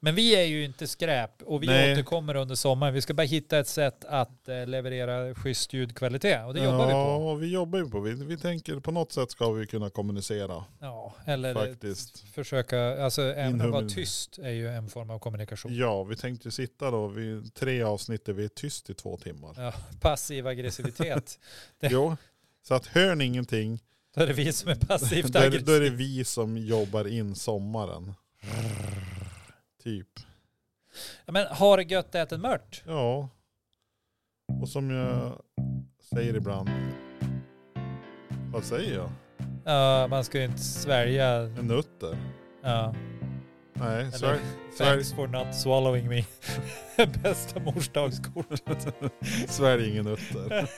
Men vi är ju inte skräp och vi Nej. återkommer under sommaren. Vi ska bara hitta ett sätt att eh, leverera schysst ljudkvalitet och det jobbar vi på. Ja, vi jobbar ju på. Vi, vi tänker på något sätt ska vi kunna kommunicera Ja, eller eh, faktiskt. försöka, alltså även att Inhummen. vara tyst är ju en form av kommunikation. Ja, vi tänkte sitta då vid tre avsnitt där vi är tyst i två timmar. Ja, passiv aggressivitet. Det- Jo, så att hör ni ingenting, Då är det vi som är passivt <laughs> då är, det- då är det aggressiva. vi som jobbar in sommaren. Typ. Ja, Men har det gött ätit mört? Ja. Och som jag säger ibland. Vad säger jag? Ja, man ska ju inte svälja. En nutter? Ja. Nej, Eller- svälj, svälj, Thanks for not swallowing me. <laughs> <laughs> Bästa morsdagskortet. svälj ingen nutter.